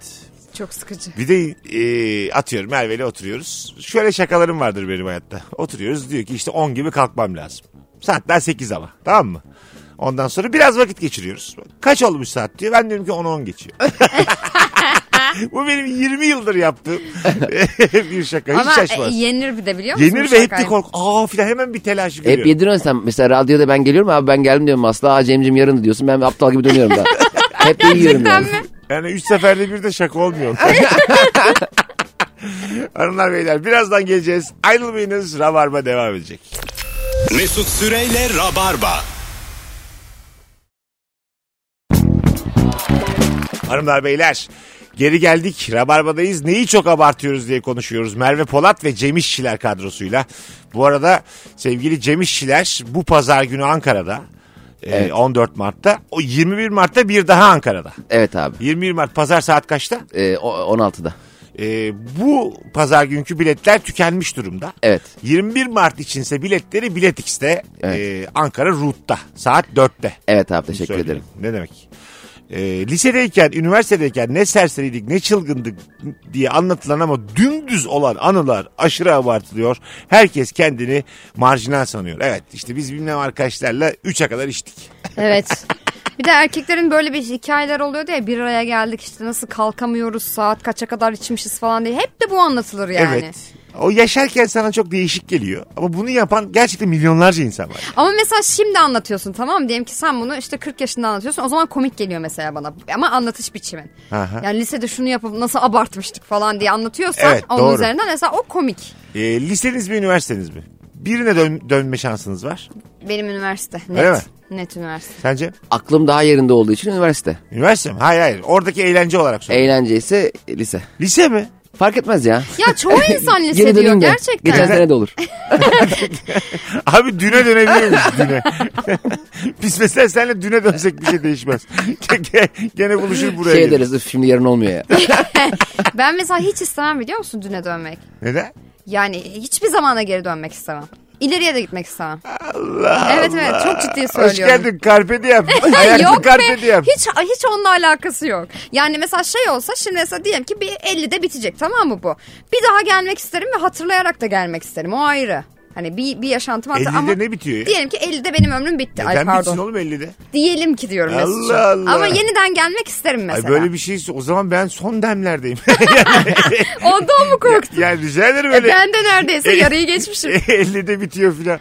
[SPEAKER 3] Çok sıkıcı.
[SPEAKER 2] Bir de e, atıyorum Merve'yle oturuyoruz. Şöyle şakalarım vardır benim hayatta. Oturuyoruz diyor ki işte 10 gibi kalkmam lazım. Saatler 8 ama tamam mı? Ondan sonra biraz vakit geçiriyoruz. Kaç olmuş saat diyor. Ben diyorum ki 10-10 geçiyor. Bu benim 20 yıldır yaptığım bir şaka. Hiç
[SPEAKER 3] Ama e,
[SPEAKER 2] şaşmaz.
[SPEAKER 3] yenir bir de biliyor musun?
[SPEAKER 2] Yenir
[SPEAKER 3] bu
[SPEAKER 2] ve hep
[SPEAKER 3] şakayı?
[SPEAKER 2] de kork. Aa filan hemen bir telaşı görüyorum.
[SPEAKER 4] hep yediriyorsun sen. Mesela radyoda ben geliyorum abi ben geldim diyorum asla. Aa Cem'cim yarın diyorsun. Ben aptal gibi dönüyorum da. Hep de yiyorum yani.
[SPEAKER 2] Yani üç seferde bir de şaka olmuyor. Hanımlar beyler birazdan geleceğiz. Ayrılmayınız. Rabarba devam edecek.
[SPEAKER 1] Mesut Süreyle Rabarba.
[SPEAKER 2] Hanımlar beyler geri geldik. Rabarba'dayız. Neyi çok abartıyoruz diye konuşuyoruz. Merve Polat ve Cem İşçiler kadrosuyla. Bu arada sevgili Cem İşçiler bu pazar günü Ankara'da. Ee, 14 Mart'ta. O 21 Mart'ta bir daha Ankara'da.
[SPEAKER 4] Evet abi.
[SPEAKER 2] 21 Mart pazar saat kaçta?
[SPEAKER 4] E, o- 16'da.
[SPEAKER 2] Ee, bu pazar günkü biletler tükenmiş durumda.
[SPEAKER 4] Evet.
[SPEAKER 2] 21 Mart içinse biletleri Bilet X'te
[SPEAKER 4] Evet.
[SPEAKER 2] e, Ankara Root'ta saat 4'te.
[SPEAKER 4] Evet abi teşekkür
[SPEAKER 2] Söyleyeyim.
[SPEAKER 4] ederim.
[SPEAKER 2] Ne demek? e, lisedeyken, üniversitedeyken ne serseriydik, ne çılgındık diye anlatılan ama dümdüz olan anılar aşırı abartılıyor. Herkes kendini marjinal sanıyor. Evet işte biz bilmem arkadaşlarla 3'e kadar içtik.
[SPEAKER 3] Evet. Bir de erkeklerin böyle bir hikayeler oluyordu ya bir araya geldik işte nasıl kalkamıyoruz saat kaça kadar içmişiz falan diye. Hep de bu anlatılır yani.
[SPEAKER 2] Evet. O yaşarken sana çok değişik geliyor. Ama bunu yapan gerçekten milyonlarca insan var.
[SPEAKER 3] Ama mesela şimdi anlatıyorsun tamam mı? Diyelim ki sen bunu işte 40 yaşında anlatıyorsun. O zaman komik geliyor mesela bana. Ama anlatış biçimin.
[SPEAKER 2] Aha.
[SPEAKER 3] Yani lisede şunu yapıp nasıl abartmıştık falan diye anlatıyorsan
[SPEAKER 2] Evet,
[SPEAKER 3] onun
[SPEAKER 2] doğru.
[SPEAKER 3] üzerinden mesela o komik.
[SPEAKER 2] E, liseniz mi üniversiteniz mi? Birine dön- dönme şansınız var.
[SPEAKER 3] Benim üniversite. Net.
[SPEAKER 2] Öyle
[SPEAKER 3] Net üniversite.
[SPEAKER 2] Sence?
[SPEAKER 4] Aklım daha yerinde olduğu için üniversite.
[SPEAKER 2] Üniversite mi? Hayır hayır. Oradaki eğlence olarak söylüyorum.
[SPEAKER 4] Eğlence ise lise.
[SPEAKER 2] Lise mi?
[SPEAKER 4] Fark etmez ya.
[SPEAKER 3] Ya çoğu insan lise
[SPEAKER 4] Yeni
[SPEAKER 3] diyor
[SPEAKER 4] dönünce.
[SPEAKER 3] gerçekten.
[SPEAKER 4] Geçen sene de olur.
[SPEAKER 2] Abi düne dönebilir miyiz düne? Biz mesela seninle düne dönsek bir şey değişmez. Gene buluşur buraya.
[SPEAKER 4] şey
[SPEAKER 2] gelir.
[SPEAKER 4] deriz "Üf, şimdi yarın olmuyor ya.
[SPEAKER 3] Ben mesela hiç istemem biliyor musun düne dönmek.
[SPEAKER 2] Neden?
[SPEAKER 3] Yani hiçbir zamana geri dönmek istemem. İleriye de gitmek istemem.
[SPEAKER 2] Allah
[SPEAKER 3] Evet evet çok ciddi söylüyorum.
[SPEAKER 2] Hoş geldin karpe diem. Ayaklı
[SPEAKER 3] yok
[SPEAKER 2] karpe
[SPEAKER 3] be
[SPEAKER 2] diem.
[SPEAKER 3] hiç, hiç onunla alakası yok. Yani mesela şey olsa şimdi mesela diyelim ki bir 50'de bitecek tamam mı bu? Bir daha gelmek isterim ve hatırlayarak da gelmek isterim o ayrı. Hani bir, bir yaşantım hatır-
[SPEAKER 2] 50'de
[SPEAKER 3] ama
[SPEAKER 2] ne bitiyor ya?
[SPEAKER 3] diyelim ki 50'de benim ömrüm bitti. Ay
[SPEAKER 2] Neden bitsin
[SPEAKER 3] pardon.
[SPEAKER 2] oğlum 50'de?
[SPEAKER 3] Diyelim ki diyorum
[SPEAKER 2] Allah
[SPEAKER 3] Mesut'cum.
[SPEAKER 2] Allah.
[SPEAKER 3] Ama yeniden gelmek isterim
[SPEAKER 2] Ay
[SPEAKER 3] mesela.
[SPEAKER 2] böyle bir şey o zaman ben son demlerdeyim.
[SPEAKER 3] Ondan mı korktun?
[SPEAKER 2] yani rica ederim
[SPEAKER 3] E
[SPEAKER 2] öyle.
[SPEAKER 3] ben de neredeyse
[SPEAKER 2] E-
[SPEAKER 3] yarıyı geçmişim.
[SPEAKER 2] 50'de bitiyor filan.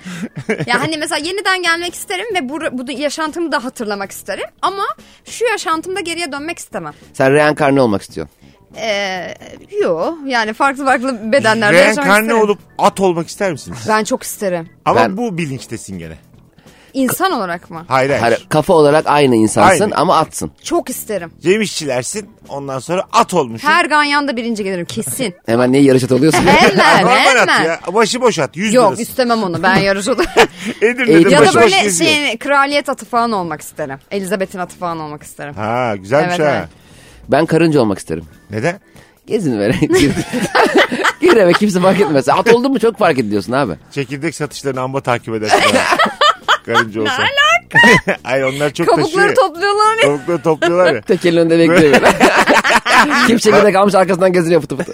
[SPEAKER 3] Ya hani mesela yeniden gelmek isterim ve bu, bu yaşantımı da hatırlamak isterim. Ama şu yaşantımda geriye dönmek istemem.
[SPEAKER 4] Sen reenkarne olmak istiyorsun.
[SPEAKER 3] Ee, yo yani farklı farklı bedenlerde yaşamak
[SPEAKER 2] Reenkarne
[SPEAKER 3] isterim.
[SPEAKER 2] olup at olmak ister misiniz?
[SPEAKER 3] Ben çok isterim.
[SPEAKER 2] Ama
[SPEAKER 4] Ben-
[SPEAKER 2] bu bilinçtesin gene.
[SPEAKER 3] İnsan olarak mı?
[SPEAKER 2] Hayır hayır.
[SPEAKER 4] Hayır, kafa olarak aynı insansın
[SPEAKER 2] Aynı.
[SPEAKER 4] ama atsın.
[SPEAKER 3] Çok isterim.
[SPEAKER 2] Yemişçilersin ondan sonra at olmuşsun.
[SPEAKER 3] Her ganyanda birinci gelirim kesin.
[SPEAKER 4] Hemen niye yarış at oluyorsun?
[SPEAKER 3] Hemen
[SPEAKER 2] Normal at
[SPEAKER 3] hemen.
[SPEAKER 2] ya. Başı boş at. 100
[SPEAKER 3] Yok
[SPEAKER 2] lirası.
[SPEAKER 3] istemem onu ben yarış olur.
[SPEAKER 2] Edirne'de
[SPEAKER 3] ya da
[SPEAKER 2] başı boş
[SPEAKER 3] böyle
[SPEAKER 2] geziyor.
[SPEAKER 3] şey, kraliyet atı falan olmak isterim. Elizabeth'in atı falan olmak isterim.
[SPEAKER 2] Ha güzelmiş
[SPEAKER 3] Evet,
[SPEAKER 2] ha.
[SPEAKER 3] evet.
[SPEAKER 4] ben karınca olmak isterim.
[SPEAKER 2] Neden?
[SPEAKER 4] Gezin böyle. Gir eve kimse fark etmez. At oldun mu çok fark ediyorsun abi.
[SPEAKER 2] Çekirdek satışlarını amba takip edersin. Karınca olsa. Ne alaka? Hayır onlar çok taşıyor.
[SPEAKER 3] Kabukları
[SPEAKER 2] ya.
[SPEAKER 3] topluyorlar. ya.
[SPEAKER 2] Kabukları topluyorlar ya.
[SPEAKER 4] Tekelin önünde bekliyor böyle. Kim çekirdek almış arkasından geziliyor fıtı fıtı.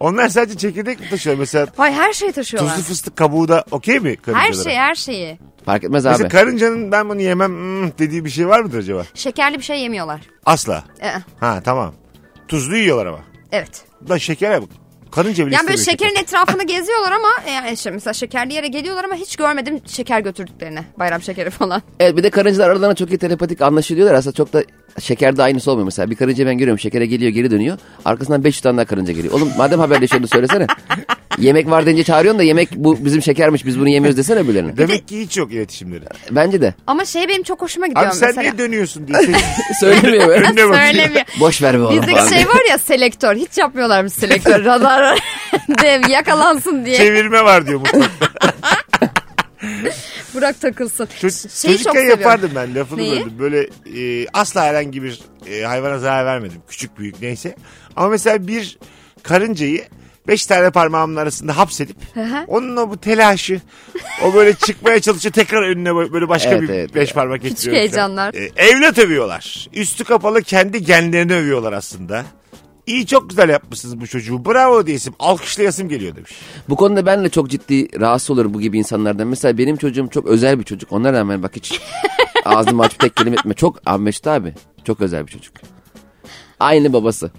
[SPEAKER 2] Onlar sadece çekirdek mi taşıyor? Mesela
[SPEAKER 3] Vay her şeyi taşıyorlar.
[SPEAKER 2] tuzlu fıstık kabuğu da okey mi karıncalara?
[SPEAKER 3] Her şey her şeyi.
[SPEAKER 4] Fark etmez
[SPEAKER 2] Mesela
[SPEAKER 4] abi.
[SPEAKER 2] karıncanın ben bunu yemem hmm, dediği bir şey var mıdır acaba?
[SPEAKER 3] Şekerli bir şey yemiyorlar.
[SPEAKER 2] Asla.
[SPEAKER 3] Ee,
[SPEAKER 2] Ha tamam. Tuzlu yiyorlar ama.
[SPEAKER 3] evet.
[SPEAKER 2] Da şekere bak. Karınca bile
[SPEAKER 3] Yani böyle
[SPEAKER 2] istemiyor
[SPEAKER 3] şekerin etrafını geziyorlar ama e, yani işte mesela şekerli yere geliyorlar ama hiç görmedim şeker götürdüklerini. Bayram şekeri falan.
[SPEAKER 4] Evet bir de karıncalar aralarına çok iyi telepatik anlaşılıyorlar. Aslında çok da şekerde aynısı olmuyor mesela. Bir karınca ben görüyorum şekere geliyor geri dönüyor. Arkasından 500 tane daha karınca geliyor. Oğlum madem haberleşiyordu söylesene. yemek var deyince çağırıyorsun da yemek bu bizim şekermiş biz bunu yemiyoruz desene birilerine.
[SPEAKER 2] Demek ki hiç yok iletişimleri.
[SPEAKER 4] Bence de.
[SPEAKER 3] Ama şey benim çok hoşuma gidiyor
[SPEAKER 2] Abi sen
[SPEAKER 3] mesela.
[SPEAKER 2] niye dönüyorsun diye. sessiz-
[SPEAKER 4] Söylemiyor böyle.
[SPEAKER 2] Önüne bakıyor.
[SPEAKER 3] Söylemiyor.
[SPEAKER 4] Boş ver be oğlum falan
[SPEAKER 3] Bizdeki şey
[SPEAKER 4] diye.
[SPEAKER 3] var ya selektör. Hiç yapmıyorlar mı selektör radar dev yakalansın diye.
[SPEAKER 2] Çevirme var diyor mutfakta.
[SPEAKER 3] Bırak takılsın.
[SPEAKER 2] Ço-
[SPEAKER 3] Şeyi çok
[SPEAKER 2] çocukken
[SPEAKER 3] seviyorum.
[SPEAKER 2] yapardım ben lafını
[SPEAKER 3] Neyi?
[SPEAKER 2] böldüm. Böyle e, asla herhangi bir e, hayvana zarar vermedim. Küçük büyük neyse. Ama mesela bir karıncayı beş tane parmağımın arasında hapsedip onun o bu telaşı o böyle çıkmaya çalışıyor tekrar önüne bö- böyle başka
[SPEAKER 4] Evet,
[SPEAKER 2] bir
[SPEAKER 4] evet,
[SPEAKER 2] beş
[SPEAKER 4] evet.
[SPEAKER 2] parmak getiriyor. falan.
[SPEAKER 3] heyecanlar.
[SPEAKER 2] E, evlat övüyorlar. Üstü kapalı kendi genlerini övüyorlar aslında. İyi çok güzel yapmışsınız bu çocuğu. Bravo diyesim. Alkışlayasım geliyor demiş.
[SPEAKER 4] Bu konuda ben de çok ciddi rahatsız olurum bu gibi insanlardan. Mesela benim çocuğum çok özel bir çocuk. Ona rağmen bak hiç ağzımı açıp tek kelime etme. Çok abi Mesut abi çok özel bir çocuk. Aynı babası.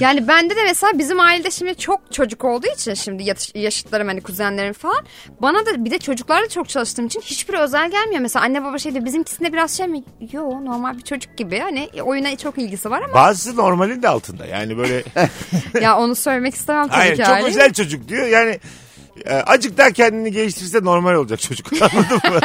[SPEAKER 3] Yani bende de mesela bizim ailede şimdi çok çocuk olduğu için şimdi yatış- yaşıtlarım hani kuzenlerim falan. Bana da bir de çocuklarla çok çalıştığım için hiçbir özel gelmiyor. Mesela anne baba şey diyor bizimkisinde biraz şey mi? Yo normal bir çocuk gibi hani oyuna çok ilgisi var ama
[SPEAKER 2] Bazısı normalin de altında. Yani böyle
[SPEAKER 3] ya onu söylemek istemem tabii
[SPEAKER 2] Hayır
[SPEAKER 3] ki
[SPEAKER 2] çok
[SPEAKER 3] haliyle.
[SPEAKER 2] özel çocuk diyor yani e, azıcık daha kendini geliştirirse normal olacak çocuk anladın mı?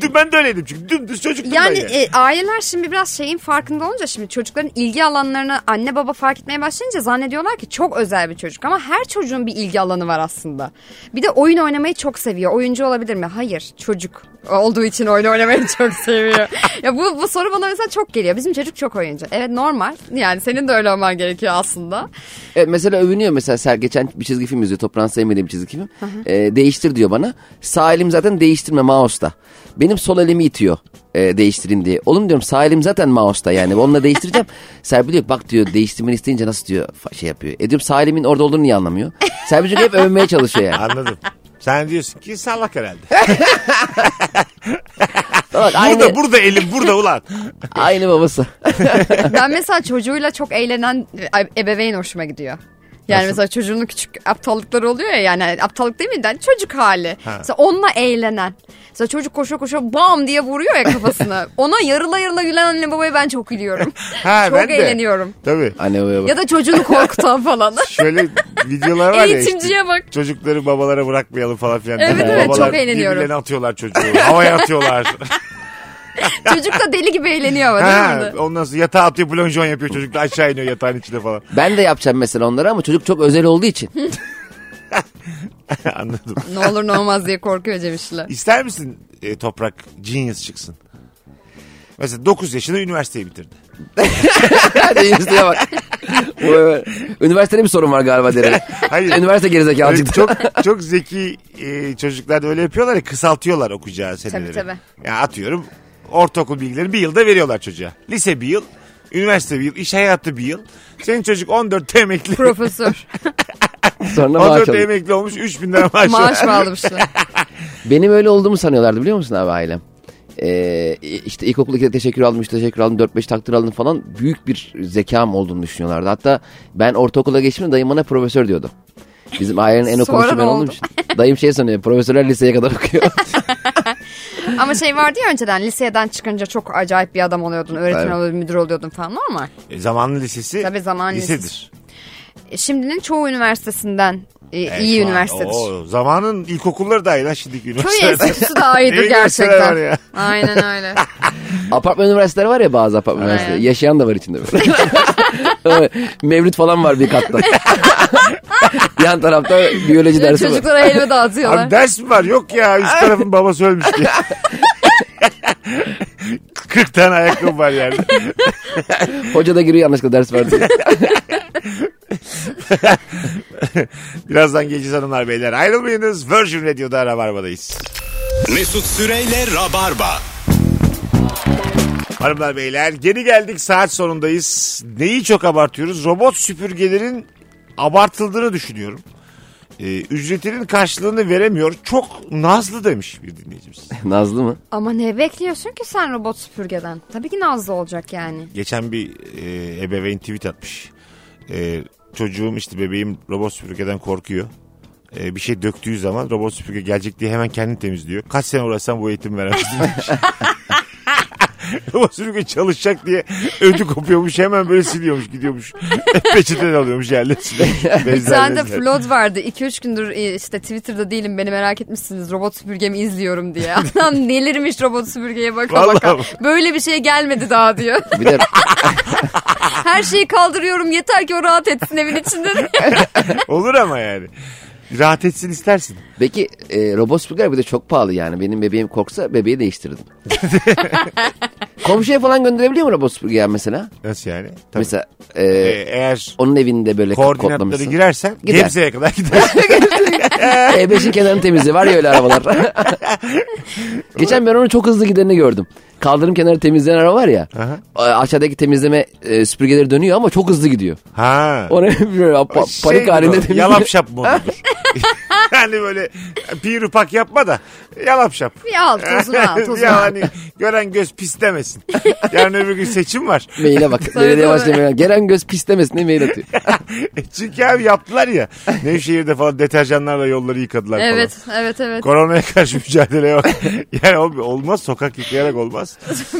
[SPEAKER 2] Dün- ben de öyleydim çünkü dümdüz çocuktum
[SPEAKER 3] Yani
[SPEAKER 2] ben yani.
[SPEAKER 3] e, aileler şimdi biraz şeyin farkında olunca şimdi çocukların ilgi alanlarını anne baba fark etmeye başlayınca zannediyorlar ki çok özel bir çocuk ama her çocuğun bir ilgi alanı var aslında. Bir de oyun oynamayı çok seviyor. Oyuncu olabilir mi? Hayır. Çocuk olduğu için oyun oynamayı çok seviyor. ya bu, bu soru bana mesela çok geliyor. Bizim çocuk çok oyuncu. Evet normal. Yani senin de öyle olman gerekiyor aslında.
[SPEAKER 4] E, Evet, mesela övünüyor mesela Ser geçen bir çizgi film izliyor. Toprağın Sayın benim çizgi filmim. E, değiştir diyor bana. Sağ elim zaten değiştirme mouse'da. Benim sol elimi itiyor e, değiştirin diye. Oğlum diyorum sağ elim zaten mouse'da yani. Onunla değiştireceğim. Serpil diyor bak diyor değiştirmeni isteyince nasıl diyor fa- şey yapıyor. E diyorum sağ elimin orada olduğunu niye anlamıyor? Serpil çünkü hep övmeye çalışıyor yani.
[SPEAKER 2] Anladım. Sen diyorsun ki salak herhalde.
[SPEAKER 4] Bak,
[SPEAKER 2] Burada
[SPEAKER 4] aynı,
[SPEAKER 2] burada elim burada ulan.
[SPEAKER 4] aynı babası.
[SPEAKER 3] Ben mesela çocuğuyla çok eğlenen ebeveyn hoşuma gidiyor. Yani mesela çocuğunun küçük aptallıkları oluyor ya yani aptallık değil mi? Yani çocuk hali. Mesela onunla eğlenen. Mesela çocuk koşa koşa bam diye vuruyor ya kafasına. Ona yarıla yarıla gülen anne babaya ben çok gülüyorum.
[SPEAKER 2] Ha,
[SPEAKER 3] çok
[SPEAKER 2] ben de.
[SPEAKER 3] eğleniyorum.
[SPEAKER 2] Tabii.
[SPEAKER 4] Anne babaya bak.
[SPEAKER 3] Ya da çocuğunu korkutan falan.
[SPEAKER 2] Şöyle videolar var ya işte.
[SPEAKER 3] Eğitimciye bak.
[SPEAKER 2] Çocukları babalara bırakmayalım falan filan.
[SPEAKER 3] Evet,
[SPEAKER 2] Babalar
[SPEAKER 3] evet, çok eğleniyorum.
[SPEAKER 2] birbirlerine atıyorlar çocuğu. Havaya atıyorlar.
[SPEAKER 3] Çocuk da deli gibi eğleniyor ama değil mi?
[SPEAKER 2] ha, ondan sonra yatağa atıyor plonjon yapıyor çocuk da aşağı iniyor yatağın içine falan.
[SPEAKER 4] Ben de yapacağım mesela onları ama çocuk çok özel olduğu için.
[SPEAKER 2] Anladım.
[SPEAKER 3] Ne olur ne olmaz diye korkuyor Cemiş'le.
[SPEAKER 2] İster misin e, Toprak genius çıksın? Mesela 9 yaşında üniversiteyi bitirdi.
[SPEAKER 4] Hadi Üniversiteye bak. Vay be. Üniversitede bir sorun var galiba derim.
[SPEAKER 2] Hayır.
[SPEAKER 4] Üniversite gerizekalı
[SPEAKER 2] Öyle
[SPEAKER 4] çıktı.
[SPEAKER 2] çok çok zeki e, çocuklar da öyle yapıyorlar ya kısaltıyorlar okuyacağı seneleri.
[SPEAKER 3] tabii.
[SPEAKER 2] Yani atıyorum ortaokul bilgilerini bir yılda veriyorlar çocuğa. Lise bir yıl, üniversite bir yıl, iş hayatı bir yıl. Senin çocuk 14 emekli.
[SPEAKER 3] Profesör.
[SPEAKER 4] Sonra maaş
[SPEAKER 2] 14
[SPEAKER 4] alıyor.
[SPEAKER 2] emekli olmuş 3000 lira maaş var.
[SPEAKER 3] Maaş mı almışlar?
[SPEAKER 4] Benim öyle olduğumu sanıyorlardı biliyor musun abi ailem? Ee, işte ilkokul ikide teşekkür aldım, işte teşekkür aldım, 4-5 takdir aldım falan büyük bir zekam olduğunu düşünüyorlardı. Hatta ben ortaokula geçtiğimde dayım bana profesör diyordu. Bizim ailenin en
[SPEAKER 3] Sonra
[SPEAKER 4] okumuşu
[SPEAKER 3] ne
[SPEAKER 4] ben
[SPEAKER 3] oldu?
[SPEAKER 4] olduğum için. Dayım şey sanıyor, profesörler liseye kadar okuyor.
[SPEAKER 3] Ama şey vardı ya önceden liseden çıkınca çok acayip bir adam oluyordun. Öğretmen
[SPEAKER 4] Tabii.
[SPEAKER 3] oluyordun, müdür oluyordun falan normal.
[SPEAKER 2] E, zamanlı lisesi.
[SPEAKER 3] Tabii zamanlı
[SPEAKER 2] lisedir.
[SPEAKER 3] lisesi. E, Şimdinin çoğu üniversitesinden e,
[SPEAKER 2] E,
[SPEAKER 3] iyi
[SPEAKER 2] şu an-
[SPEAKER 3] üniversitedir.
[SPEAKER 2] Oo, zamanın ilkokulları da iyi lan şimdiki
[SPEAKER 3] Köy
[SPEAKER 2] üniversiteler.
[SPEAKER 3] enstitüsü daha iyidir
[SPEAKER 2] Evin üniversiteler var
[SPEAKER 3] gerçekten.
[SPEAKER 2] ya.
[SPEAKER 3] Aynen öyle.
[SPEAKER 4] apartman üniversiteleri var ya bazı apartman
[SPEAKER 3] Aynen.
[SPEAKER 4] üniversiteleri. Yaşayan da var içinde. böyle. Mevlüt falan var bir katta. Yan tarafta biyoloji dersi var.
[SPEAKER 3] Çocuklara helva dağıtıyorlar.
[SPEAKER 2] Abi ders mi var? Yok ya üst tarafın babası ölmüş diye. 40 tane ayakkabı var yani.
[SPEAKER 4] Hoca da giriyor yanlışlıkla ders verdi.
[SPEAKER 2] Birazdan geleceğiz hanımlar beyler. Ayrılmayınız. Virgin Radio'da Rabarba'dayız.
[SPEAKER 1] Mesut Süreyle Rabarba.
[SPEAKER 2] Hanımlar beyler geri geldik saat sonundayız. Neyi çok abartıyoruz? Robot süpürgelerin abartıldığını düşünüyorum. Ee, ücretinin karşılığını veremiyor. Çok nazlı demiş bir dinleyicimiz.
[SPEAKER 4] Nazlı mı?
[SPEAKER 3] Ama ne bekliyorsun ki sen robot süpürgeden? Tabii ki Nazlı olacak yani.
[SPEAKER 2] Geçen bir e, ebeveyn tweet atmış. E, çocuğum işte bebeğim robot süpürgeden korkuyor. E, bir şey döktüğü zaman robot süpürge gelecek diye hemen kendini temizliyor. Kaç sene uğraşsam bu eğitim veremezdim demiş. robot süpürge çalışacak diye ödü kopuyormuş hemen böyle siliyormuş gidiyormuş. Peçeten alıyormuş yerle siliyormuş.
[SPEAKER 3] Bir
[SPEAKER 2] Benzer
[SPEAKER 3] tane de
[SPEAKER 2] benzer.
[SPEAKER 3] flood vardı. 2-3 gündür e, işte Twitter'da değilim beni merak etmişsiniz. Robot süpürgemi izliyorum diye. Adam delirmiş robot süpürgeye baka
[SPEAKER 2] Vallahi
[SPEAKER 3] baka.
[SPEAKER 2] mi?
[SPEAKER 3] Böyle bir şey gelmedi daha diyor.
[SPEAKER 4] Bir de
[SPEAKER 3] Her şeyi kaldırıyorum yeter ki o rahat etsin evin içinde diye.
[SPEAKER 2] Olur ama yani. Rahat etsin istersin.
[SPEAKER 4] Peki e, robot süpürgeler bir de çok pahalı yani. Benim bebeğim korksa bebeği değiştirdim. Komşuya falan gönderebiliyor mu robot süpürgeler mesela?
[SPEAKER 2] Nasıl yani? Tabii.
[SPEAKER 4] Mesela e,
[SPEAKER 2] E, eğer
[SPEAKER 4] onun evinde böyle
[SPEAKER 2] koordinatları
[SPEAKER 4] kodlamışsın.
[SPEAKER 2] girersen
[SPEAKER 4] Gider.
[SPEAKER 2] Gebze'ye kadar gider.
[SPEAKER 4] E5'in kenarını temizliyor. Var ya öyle arabalar. Geçen ben onu çok hızlı gidenini gördüm. Kaldırım kenarı temizleyen araba var ya.
[SPEAKER 2] Aha.
[SPEAKER 4] a- Aşağıdaki temizleme e, süpürgeleri dönüyor ama çok hızlı gidiyor.
[SPEAKER 2] Ha.
[SPEAKER 4] O ne bilmiyorum, pa-
[SPEAKER 2] Şey
[SPEAKER 4] panik
[SPEAKER 2] gibi
[SPEAKER 4] halinde
[SPEAKER 2] o,
[SPEAKER 4] temizliyor.
[SPEAKER 2] Yalap şap modudur. yani böyle bir ufak yapma da yalap şap.
[SPEAKER 3] Bir al tozunu al tozunu
[SPEAKER 2] ya
[SPEAKER 3] al.
[SPEAKER 2] hani gören göz pis demesin. Yarın öbür gün seçim var.
[SPEAKER 4] Maile bak.
[SPEAKER 3] Tabii,
[SPEAKER 4] Belediye
[SPEAKER 3] tabii.
[SPEAKER 4] başkanı mail- Gelen göz pislemesin diye mail atıyor.
[SPEAKER 2] Çünkü abi yaptılar ya. Nevşehir'de falan deterjanlarla yolları yıkadılar falan.
[SPEAKER 3] Evet evet evet.
[SPEAKER 2] Koronaya karşı mücadeleye bak. Yani ol- olmaz sokak yıkayarak olmaz.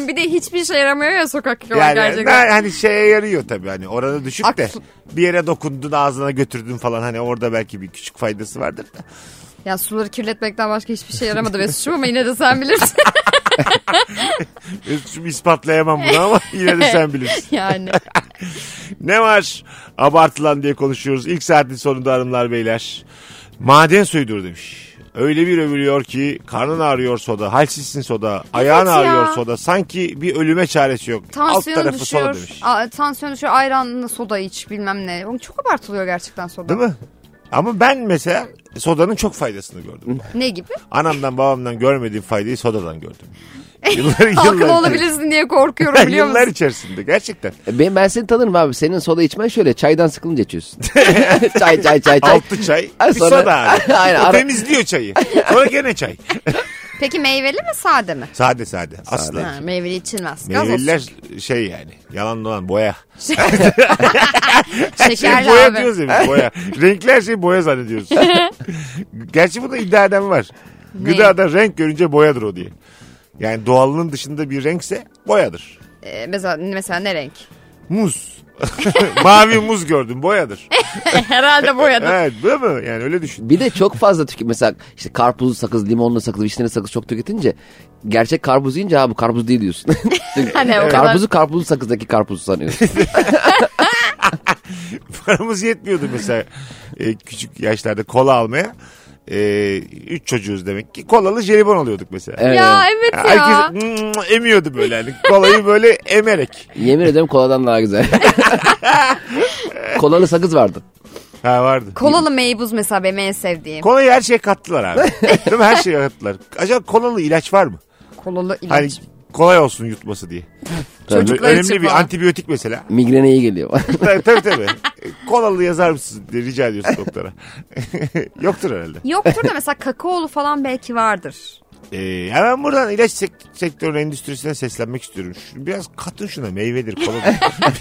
[SPEAKER 3] bir de hiçbir şey yaramıyor ya sokak köpek
[SPEAKER 2] Yani
[SPEAKER 3] gerçekten.
[SPEAKER 2] na- hani şeye yarıyor tabii hani oranı düşük de
[SPEAKER 3] Aklı-
[SPEAKER 2] bir yere dokundun ağzına götürdün falan hani orada belki bir küçük faydası vardır da.
[SPEAKER 3] Ya suları kirletmekten başka hiçbir şey yaramadı Mesut'cum ama yine de sen bilirsin
[SPEAKER 2] Şimdi ispatlayamam bunu ama yine de sen bilirsin.
[SPEAKER 3] yani.
[SPEAKER 2] Ne var abartılan diye konuşuyoruz. İlk saatin sonunda hanımlar beyler. Maden suyudur demiş. Öyle bir övülüyor ki karnın ağrıyor soda, halsizsin soda, ayağın
[SPEAKER 3] ya.
[SPEAKER 2] ağrıyor soda. Sanki bir ölüme çaresi yok. Alt
[SPEAKER 3] Tansiyonu
[SPEAKER 2] tarafı soda
[SPEAKER 3] düşüyor.
[SPEAKER 2] demiş.
[SPEAKER 3] Aa, tansiyon düşüyor. Ayranla soda iç bilmem ne. Oğlum Çok abartılıyor gerçekten soda.
[SPEAKER 2] Değil mi? Ama ben mesela sodanın çok faydasını gördüm.
[SPEAKER 3] Ne gibi?
[SPEAKER 2] Anamdan babamdan görmediğim faydayı sodadan gördüm. Yıllar,
[SPEAKER 3] Halkın olabilirsin diye korkuyorum biliyor
[SPEAKER 2] yıllar
[SPEAKER 3] musun?
[SPEAKER 2] içerisinde gerçekten.
[SPEAKER 4] E, Ben, ben seni tanırım abi. Senin soda içmen şöyle çaydan sıkılınca içiyorsun. çay çay çay çay.
[SPEAKER 2] Altı çay,
[SPEAKER 4] Ay,
[SPEAKER 2] bir
[SPEAKER 4] sonra-
[SPEAKER 2] soda abi.
[SPEAKER 4] Aynen,
[SPEAKER 2] O
[SPEAKER 4] ara-
[SPEAKER 2] temizliyor çayı. Sonra gene çay.
[SPEAKER 3] Peki meyveli mi sade mi?
[SPEAKER 2] Sade sade. Asla.
[SPEAKER 3] Ha, meyveli içilmez. Gaz olsun.
[SPEAKER 2] Meyveliler şey yani. Yalan dolan boya. Şey
[SPEAKER 3] Şekerli
[SPEAKER 2] boya
[SPEAKER 3] abi.
[SPEAKER 2] diyoruz ya biz, boya. Renkli her şeyi boya zannediyoruz. Gerçi bunu iddia eden var. Gıdada renk görünce boyadır o diye. Yani doğallığın dışında bir renkse boyadır.
[SPEAKER 3] Ee, mesela, mesela ne renk?
[SPEAKER 2] Muz. Mavi muz gördüm boyadır.
[SPEAKER 3] Herhalde boyadım.
[SPEAKER 2] Evet değil mi? Yani öyle düşün.
[SPEAKER 4] Bir de çok fazla tüket mesela işte karpuzlu sakız, limonlu sakız, vişneli sakız çok tüketince gerçek karpuz yiyince abi karpuz değil diyorsun. Çünkü
[SPEAKER 3] Hani o kadar-
[SPEAKER 4] karpuzu karpuzlu sakızdaki karpuzu sanıyorsun.
[SPEAKER 2] Paramız yetmiyordu mesela e, küçük yaşlarda kola almaya. E, üç çocuğuz demek ki. Kolalı jelibon alıyorduk mesela.
[SPEAKER 4] Evet.
[SPEAKER 3] Ya evet ya.
[SPEAKER 2] Herkes mm, emiyordu böyle hani kolayı böyle emerek.
[SPEAKER 4] Yemin ederim koladan daha güzel. Kolalı sakız vardı.
[SPEAKER 2] Ha vardı.
[SPEAKER 3] Kolalı meybuz mesela benim en sevdiğim.
[SPEAKER 2] Kolayı her şeye kattılar abi. Değil mi? Her şeye kattılar. Acaba kolalı ilaç var mı?
[SPEAKER 3] Kolalı ilaç.
[SPEAKER 2] Hani kolay olsun yutması diye.
[SPEAKER 3] Çocuklar
[SPEAKER 2] Önemli
[SPEAKER 3] için
[SPEAKER 2] bir
[SPEAKER 3] falan.
[SPEAKER 2] antibiyotik mesela.
[SPEAKER 4] Migrene iyi geliyor.
[SPEAKER 2] tabii tabii. tabii. Kolalı yazar mısın diye rica ediyorsun doktora. Yoktur herhalde.
[SPEAKER 3] Yoktur da mesela kakaolu falan belki vardır.
[SPEAKER 2] Ee, hemen buradan ilaç sek- sektörünün endüstrisine seslenmek istiyorum. Şu- biraz katın şuna meyvedir koladır.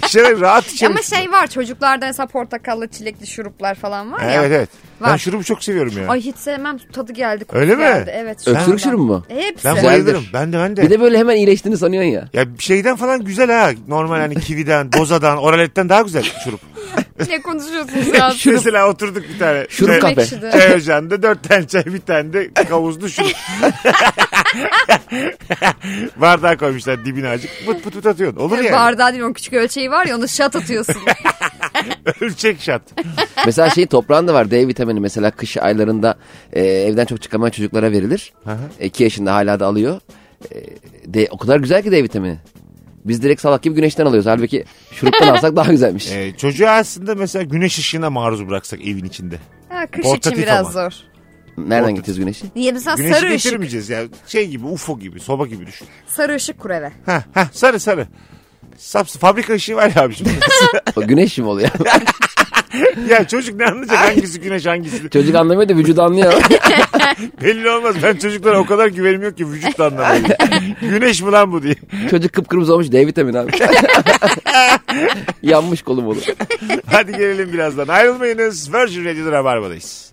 [SPEAKER 2] bir şeyler rahat içelim.
[SPEAKER 3] Ama şey var çocuklarda mesela portakallı çilekli şuruplar falan var ya.
[SPEAKER 2] Evet evet. Ben
[SPEAKER 3] Var.
[SPEAKER 2] şurubu çok seviyorum ya.
[SPEAKER 3] Ay hiç sevmem tadı geldi. kokusu
[SPEAKER 2] Öyle mi?
[SPEAKER 3] Geldi. Evet.
[SPEAKER 4] Öksürük
[SPEAKER 3] sonradan.
[SPEAKER 4] şurubu mu?
[SPEAKER 3] Hepsi.
[SPEAKER 2] ben
[SPEAKER 4] Güzeldir.
[SPEAKER 2] bayılırım. Ben de ben de.
[SPEAKER 4] bir de böyle hemen iyileştiğini sanıyorsun ya.
[SPEAKER 2] Ya bir şeyden falan güzel ha. Normal hani kividen, bozadan, oraletten daha güzel şurup.
[SPEAKER 3] ne konuşuyorsunuz ya?
[SPEAKER 2] Mesela oturduk bir tane.
[SPEAKER 4] Şurup
[SPEAKER 2] çay-
[SPEAKER 4] kafe.
[SPEAKER 3] Ekşidi.
[SPEAKER 2] Çay ocağında dört tane çay bir tane de kavuzlu şurup. Bardağı koymuşlar dibine azıcık. Pıt pıt pıt atıyorsun. Olur ya. Yani.
[SPEAKER 3] Bardağı değil o küçük ölçeği var ya onu şat atıyorsun.
[SPEAKER 2] Ölçek şart.
[SPEAKER 4] Mesela şey toprağın da var D vitamini mesela kış aylarında e, evden çok çıkamayan çocuklara verilir. 2 yaşında hala da alıyor. E, D, o kadar güzel ki D vitamini. Biz direkt salak gibi güneşten alıyoruz. Halbuki şuruptan alsak daha güzelmiş.
[SPEAKER 2] Ee, çocuğu aslında mesela güneş ışığına maruz bıraksak evin içinde.
[SPEAKER 3] ha, kış
[SPEAKER 2] Portatif
[SPEAKER 3] için biraz
[SPEAKER 2] ama.
[SPEAKER 3] zor.
[SPEAKER 4] Nereden gideceğiz güneşi?
[SPEAKER 3] Niye mesela
[SPEAKER 2] Güneşi
[SPEAKER 3] sarı ışık.
[SPEAKER 2] getirmeyeceğiz ya. Şey gibi UFO gibi soba gibi düşün.
[SPEAKER 3] Sarı ışık kur eve.
[SPEAKER 2] Heh, heh, sarı sarı. Sapsı fabrika ışığı var ya abi şimdi.
[SPEAKER 4] O güneş mi oluyor?
[SPEAKER 2] ya çocuk ne anlayacak hangisi güneş hangisi?
[SPEAKER 4] Çocuk anlamıyor da vücudu anlıyor.
[SPEAKER 2] Belli olmaz. Ben çocuklara o kadar güvenim yok ki vücut da anlamıyor. Güneş mi lan bu diye.
[SPEAKER 4] Çocuk kıpkırmızı olmuş D vitamini abi. Yanmış kolum olur.
[SPEAKER 2] Hadi gelelim birazdan. Ayrılmayınız. Virgin Radio'da Rabarba'dayız.